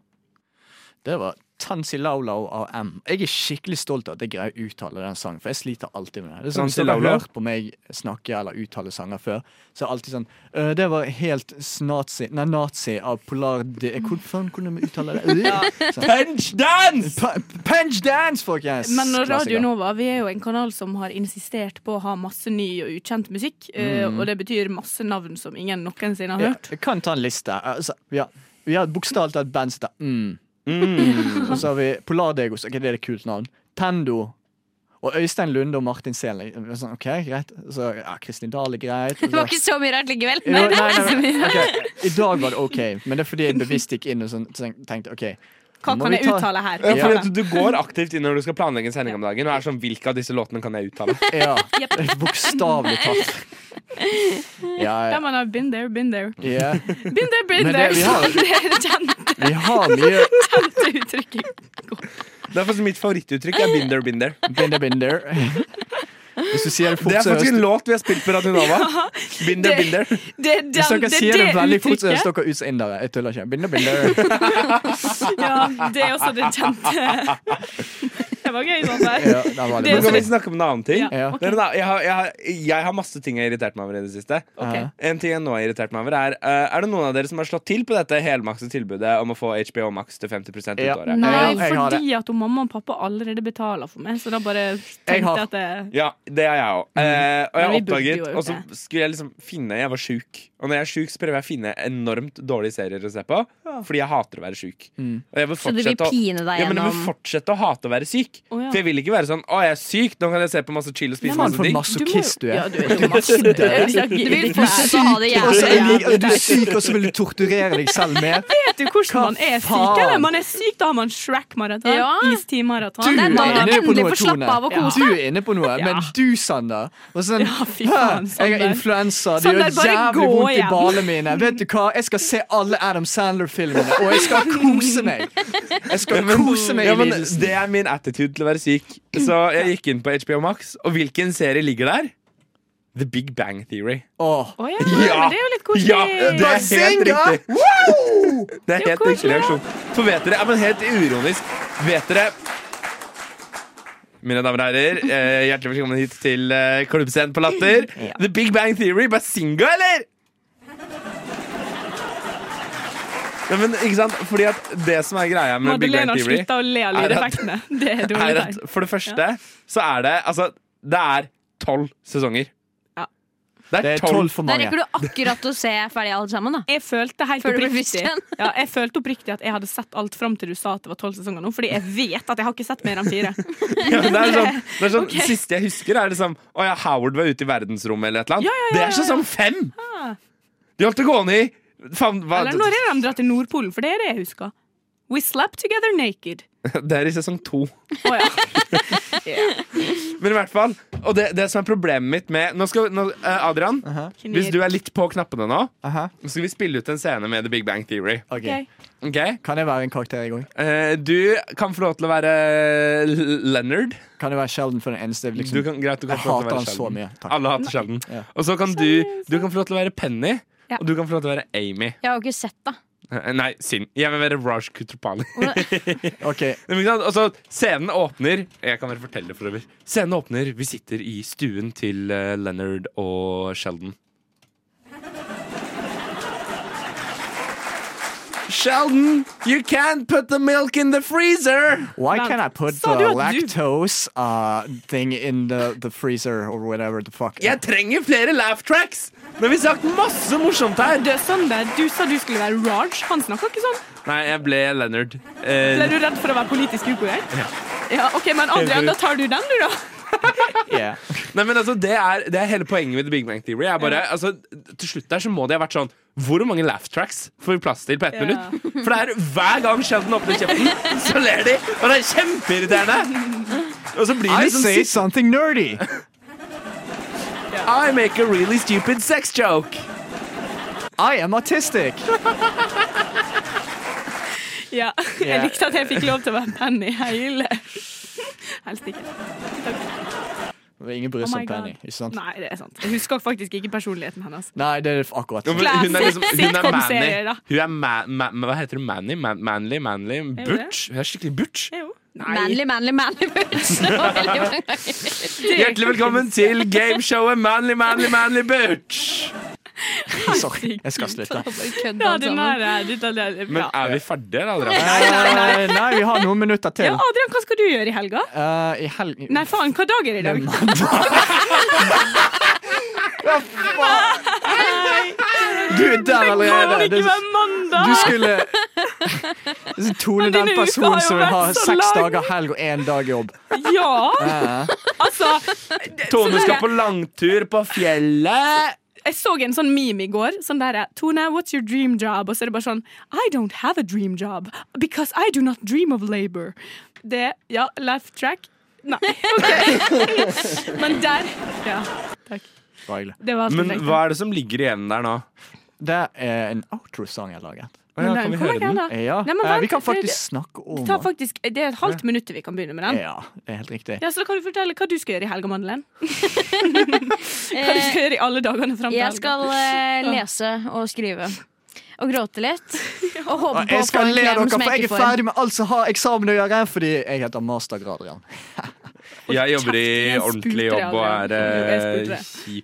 Det var Tansilaulau av M. Jeg er skikkelig stolt av at jeg greier å uttale den sangen, for jeg sliter alltid med det. det er sånn, hvis dere har Tansilaulau? hørt på meg snakke eller uttale sanger før, så er det alltid sånn «Øh, Det var helt snazi Nei, nazi av Polar D... Hvordan kunne vi uttale det? Øh, sånn. Punch dance! Pa- Punch dance, folkens! Men når Radio Klassiker. Nova vi er jo en kanal som har insistert på å ha masse ny og ukjent musikk. eh, Og det betyr masse navn som ingen noensinne har Mm. ja, hørt. Jeg kan ta en liste. Altså, vi har, vi har bokstavelig talt et band som heter mm. Og så har vi Polardegos. Ok, det er et kult navn. Tendo. Og Øystein Lunde og Martin Selen. Sånn, ok, greit. Så, ja, Kristin Dahl er greit. Og Det var så- ikke så mye rart likevel. Jo, nei, nei, nei, ok. I dag var det ok, men det er fordi jeg bevisst gikk inn og sånn, tenk- tenkte ok Hva nå må kan vi jeg ta- uttale her? Ja, fordi Ja. at du går aktivt inn når du skal planlegge en sending om dagen. Og er sånn, hvilke av disse låtene kan jeg uttale? Ja, Bokstavelig talt. Ja, Ja, man har been there, been there. ja. Been there, been Men det- there. vi har- Så Det er det kjente, Vi har mye kjente uttrykket. Det er faktisk mitt favorittuttrykk. er Binder, binder. binder, binder. Hvis du sier det fort, Det er så høres faktisk det en låt vi har spilt på Radio Nova. Binder, det- binder. Det er den- Hvis dere det er sier det det veldig fort, så uttrykket. høres dere ut som indere. Jeg tuller ikke. Binder, binder. Ja, det er også det kjente. Det var gøy sånn der. Ja, der var Nå det. Det er kan vi bra. snakke om en annen ting. Ja. Ja. Det er en annen- Jeg, har, jeg, har, jeg har masse ting jeg har irritert meg over i det siste. Ja. En ting jeg nå har irritert meg over Er eh, Er det noen av dere som har slått til på dette helmakse tilbudet om å få HBO Max til 50 ut Ja. året? Nei, Ja, jeg har det. fordi at hun mamma og pappa allerede betaler for meg, så da bare Jeg tenkte har- jeg at eh, det Ja, det har jeg òg. Eh, og jeg har Men vi burde jo oppdaget gjort Og så skulle jeg liksom finne Jeg var sjuk. Og når jeg er sjuk, så prøver jeg å finne enormt dårlige serier å se på. Fordi jeg hater å være sjuk. Mm. Og jeg vil Så du vil fortsette å- pine deg ja, men jeg vil gjennom fortsette å hate å være syk. Å, ja. For jeg vil ikke være sånn Å, jeg er syk, nå kan jeg se på masse chill og spise Faen, masse for en ting. masochist du Ja, er. du er jo masse Du vil fortsette å ha det Og så er jævlig. du- Du er syk, og så vil du torturere deg selv mer. Vet du hvordan man er syk? faen? Eller man er syk, da har man Shrek-maraton. Ja. Istid-maraton. Du er Det er da man inne på endelig noe, får slappe av og Tone. kose Du er inne på noe, men du, Sander og sånn, Ja, fy faen, «Hæ, Jeg har Sander. influensa, det Sander, gjør bare jævlig gå vondt i hjem.» ballene mine. Vet du hva, jeg skal se alle Adam Sandler-filmene, og jeg skal kose meg. Jeg skal kose meg Ja, i men lidelsen. det er min attitude til å være syk. Så jeg gikk inn på HBO Max, og hvilken serie ligger der? The Big Bang Theory. Åh. Å ja, Ja. men det er jo litt koselig. Ja, det er helt Bazinga! riktig. Det er Det er helt riktig koselig. reaksjon. For vet dere, ja, men helt ironisk Vet dere mine damer og herrer, eh, hjertelig velkommen hit til eh, Klubbscenen på Latter. The Big Bang Theory, Bazinga, eller? Ja, men ikke sant? Fordi at det som er greia med Big Bang Madeleine har Theory slutta å le av er at- lydeffektene. Det er dårlig er at tegn. for det første så er det Altså, det er tolv sesonger. Ja. Det Det er er tolv tolv. for Da mange. rekker du akkurat å se ferdig alle sammen, da. Jeg følte helt Før du ble oppriktig frisk igjen. ja, Jeg følte oppriktig at jeg hadde sett alt fram til du sa at det var tolv sesonger nå, fordi jeg vet at jeg har ikke sett mer enn fire. Ja, men det er sånn, det er sånn siste jeg husker, er liksom Å ja, Howard var ute i verdensrommet eller et eller annet. Ja, ja, ja, Det er sånn som fem! Ah. De holdt det gående i Faen, hva Eller når er de dratt til Nordpolen? For det er det jeg husker. We slept together naked. Det er i sesong to. Å ja. Men i hvert fall. Og det, det som er problemet mitt med Nå skal nå, eh, Adrian, hvis du er litt på knappene nå, Aha, så skal vi spille ut en scene med The Big Bang Theory. ok. Ok. Ok? Kan jeg være en karakter i gang? Eh, du kan få lov til å være L- Leonard. Kan jeg være Sheldon for den eneste liksom? Du kan, greit, du kan Jeg få lov til å hater være han så Sheldon. mye. Takk. Alle hater Sheldon. Ja. Og så kan du, du kan få lov til å være Penny, Ja. og du kan få lov til å være Amy. Jeg har jo ikke sett, da. Eh, Nei, Sin. Jeg vil være Raj Kutrapani. Ok, Men ikke sant? Og så scenen åpner Jeg kan bare fortelle det for øvrig. Scenen åpner, vi sitter i stuen til eh, Leonard og Sheldon. Sheldon, you can't put the milk in the freezer! Why Vent, can I put sa the du at du- lactose uh, thing in the, the freezer or whatever the fuck? Jeg trenger flere laugh tracks! Nå har vi sagt masse morsomt her. Du, Sander, du sa du skulle være Raj. Han snakker ikke sånn. Nei, jeg ble Leonard. Eh, Ble du redd for å være politisk ukorrekt? Ja. ok, Men Adrian, da tar du den, du, da. Yeah. Nei, men altså, det er, det er hele poenget med The Big Bang Theory. Jeg bare, altså, til slutt der så må det ha vært sånn Hvor mange laugh tracks får vi plass til på ett Ja. minutt? For det er hver gang Sheldon åpner kjeften, så ler de! Og det er kjempeirriterende! Og så blir det I sånn say siste something nerdy! I make a really stupid sex joke. I am autistic! Ja. Ja. Jeg likte at jeg fikk lov til å være Penny hele Helst ikke. Vi hadde ingen brydd Oh seg my om Penny. God. Ikke sant? Nei, det er sant. Jeg husker faktisk ikke personligheten hennes. Nei, det er akkurat. Jo, men Hun er, liksom, hun er manny. Sitcom-serier, da. Hun er ma ma ma hva heter hun? Manny? Man manly? Manly? det? Butch? Hun er skikkelig butch. Jo. Manly, manly, manly boots. Det var veldig mange ganger. Hjertelig velkommen til gameshowet Manly, manly, manly butch! Sorry, jeg skal slutte. Bare kødda Ja, alt den sammen. her er litt alene. Men Bra. er vi ferdige, da, Adrian? Nei, nei, nei, nei, vi har noen minutter Ja, til. Adrian, hva skal du gjøre i helga? Eh, I helgen Nei, faen, hva dag er det i dag? Du er der Kan allerede! det ikke Det- være mandag? Du skulle Så Tone, den Denne uka har personen jo som vil ha vært så seks lang. dager helg og én dag jobb. Ja, Eh, altså. Tone skal på langtur på fjellet. Jeg så en sånn meme i går. Sånn der, Tone, what's your dream job? Og så er det bare sånn I don't have a dream job because I do not dream of labor. Det Ja, left track. Nei. ok. Men der Ja, det var hyggelig. det var alt jeg Men tenkte. hva er det som ligger igjen der nå? Det er en outro-sang jeg har laget. Å ja, Men kan vi kom høre igjen, den? da. Ja, Nei, men eh, vent, vi kan det- faktisk snakke om Det tar faktisk, det er et halvt minutt til vi kan begynne med den. Ja, det er helt riktig. Ja, så da kan du fortelle hva du skal gjøre i helga, Madeleine. Hva Eh, du skal gjøre i alle dagene frem til Jeg helga. skal eh, lese og skrive. Og gråte litt. Og håpe Og på å jeg få skal en le av klem dere, som for jeg ikke er får. ferdig med alt som har eksamen å gjøre. Fordi jeg heter mastergrad, Jan. Jeg jobber i Kjeft, jeg ordentlig spurte deg, jobb og Adrian. er Jeg spurte eh, kjip. deg.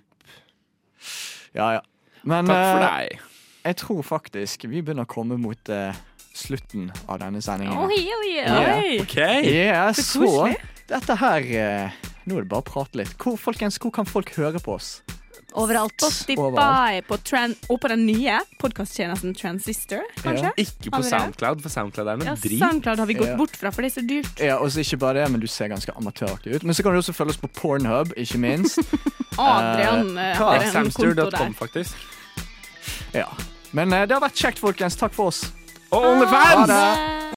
Ja, ja. Men Takk for eh, deg. jeg tror faktisk vi begynner å komme mot eh, slutten av denne sendingen. Oi, oi, oi. Oi. OK. Ja, Så så koselig. dette her eh, Nå er det bare å prate litt. Hvor, folkens, hvor kan folk høre på oss? Overalt. Spotify Overalt. på tran og på den nye podkasttjenesten Transistor, kanskje? Ikke på Adrian. SoundCloud, for SoundCloud er Ja, noe drit. SoundCloud har vi gått Ja. bort fra, for det er så dyrt. Ja, og så ikke bare det, men Du ser ganske amatøraktig ut. Men så kan du også følge oss på Pornhub, ikke minst. Adrian Eh, eh, hva? har en konto Samster.com, der. faktisk. Ja. Men eh, det har vært kjekt, folkens. Takk for oss. Og OnlyFans! Ha det.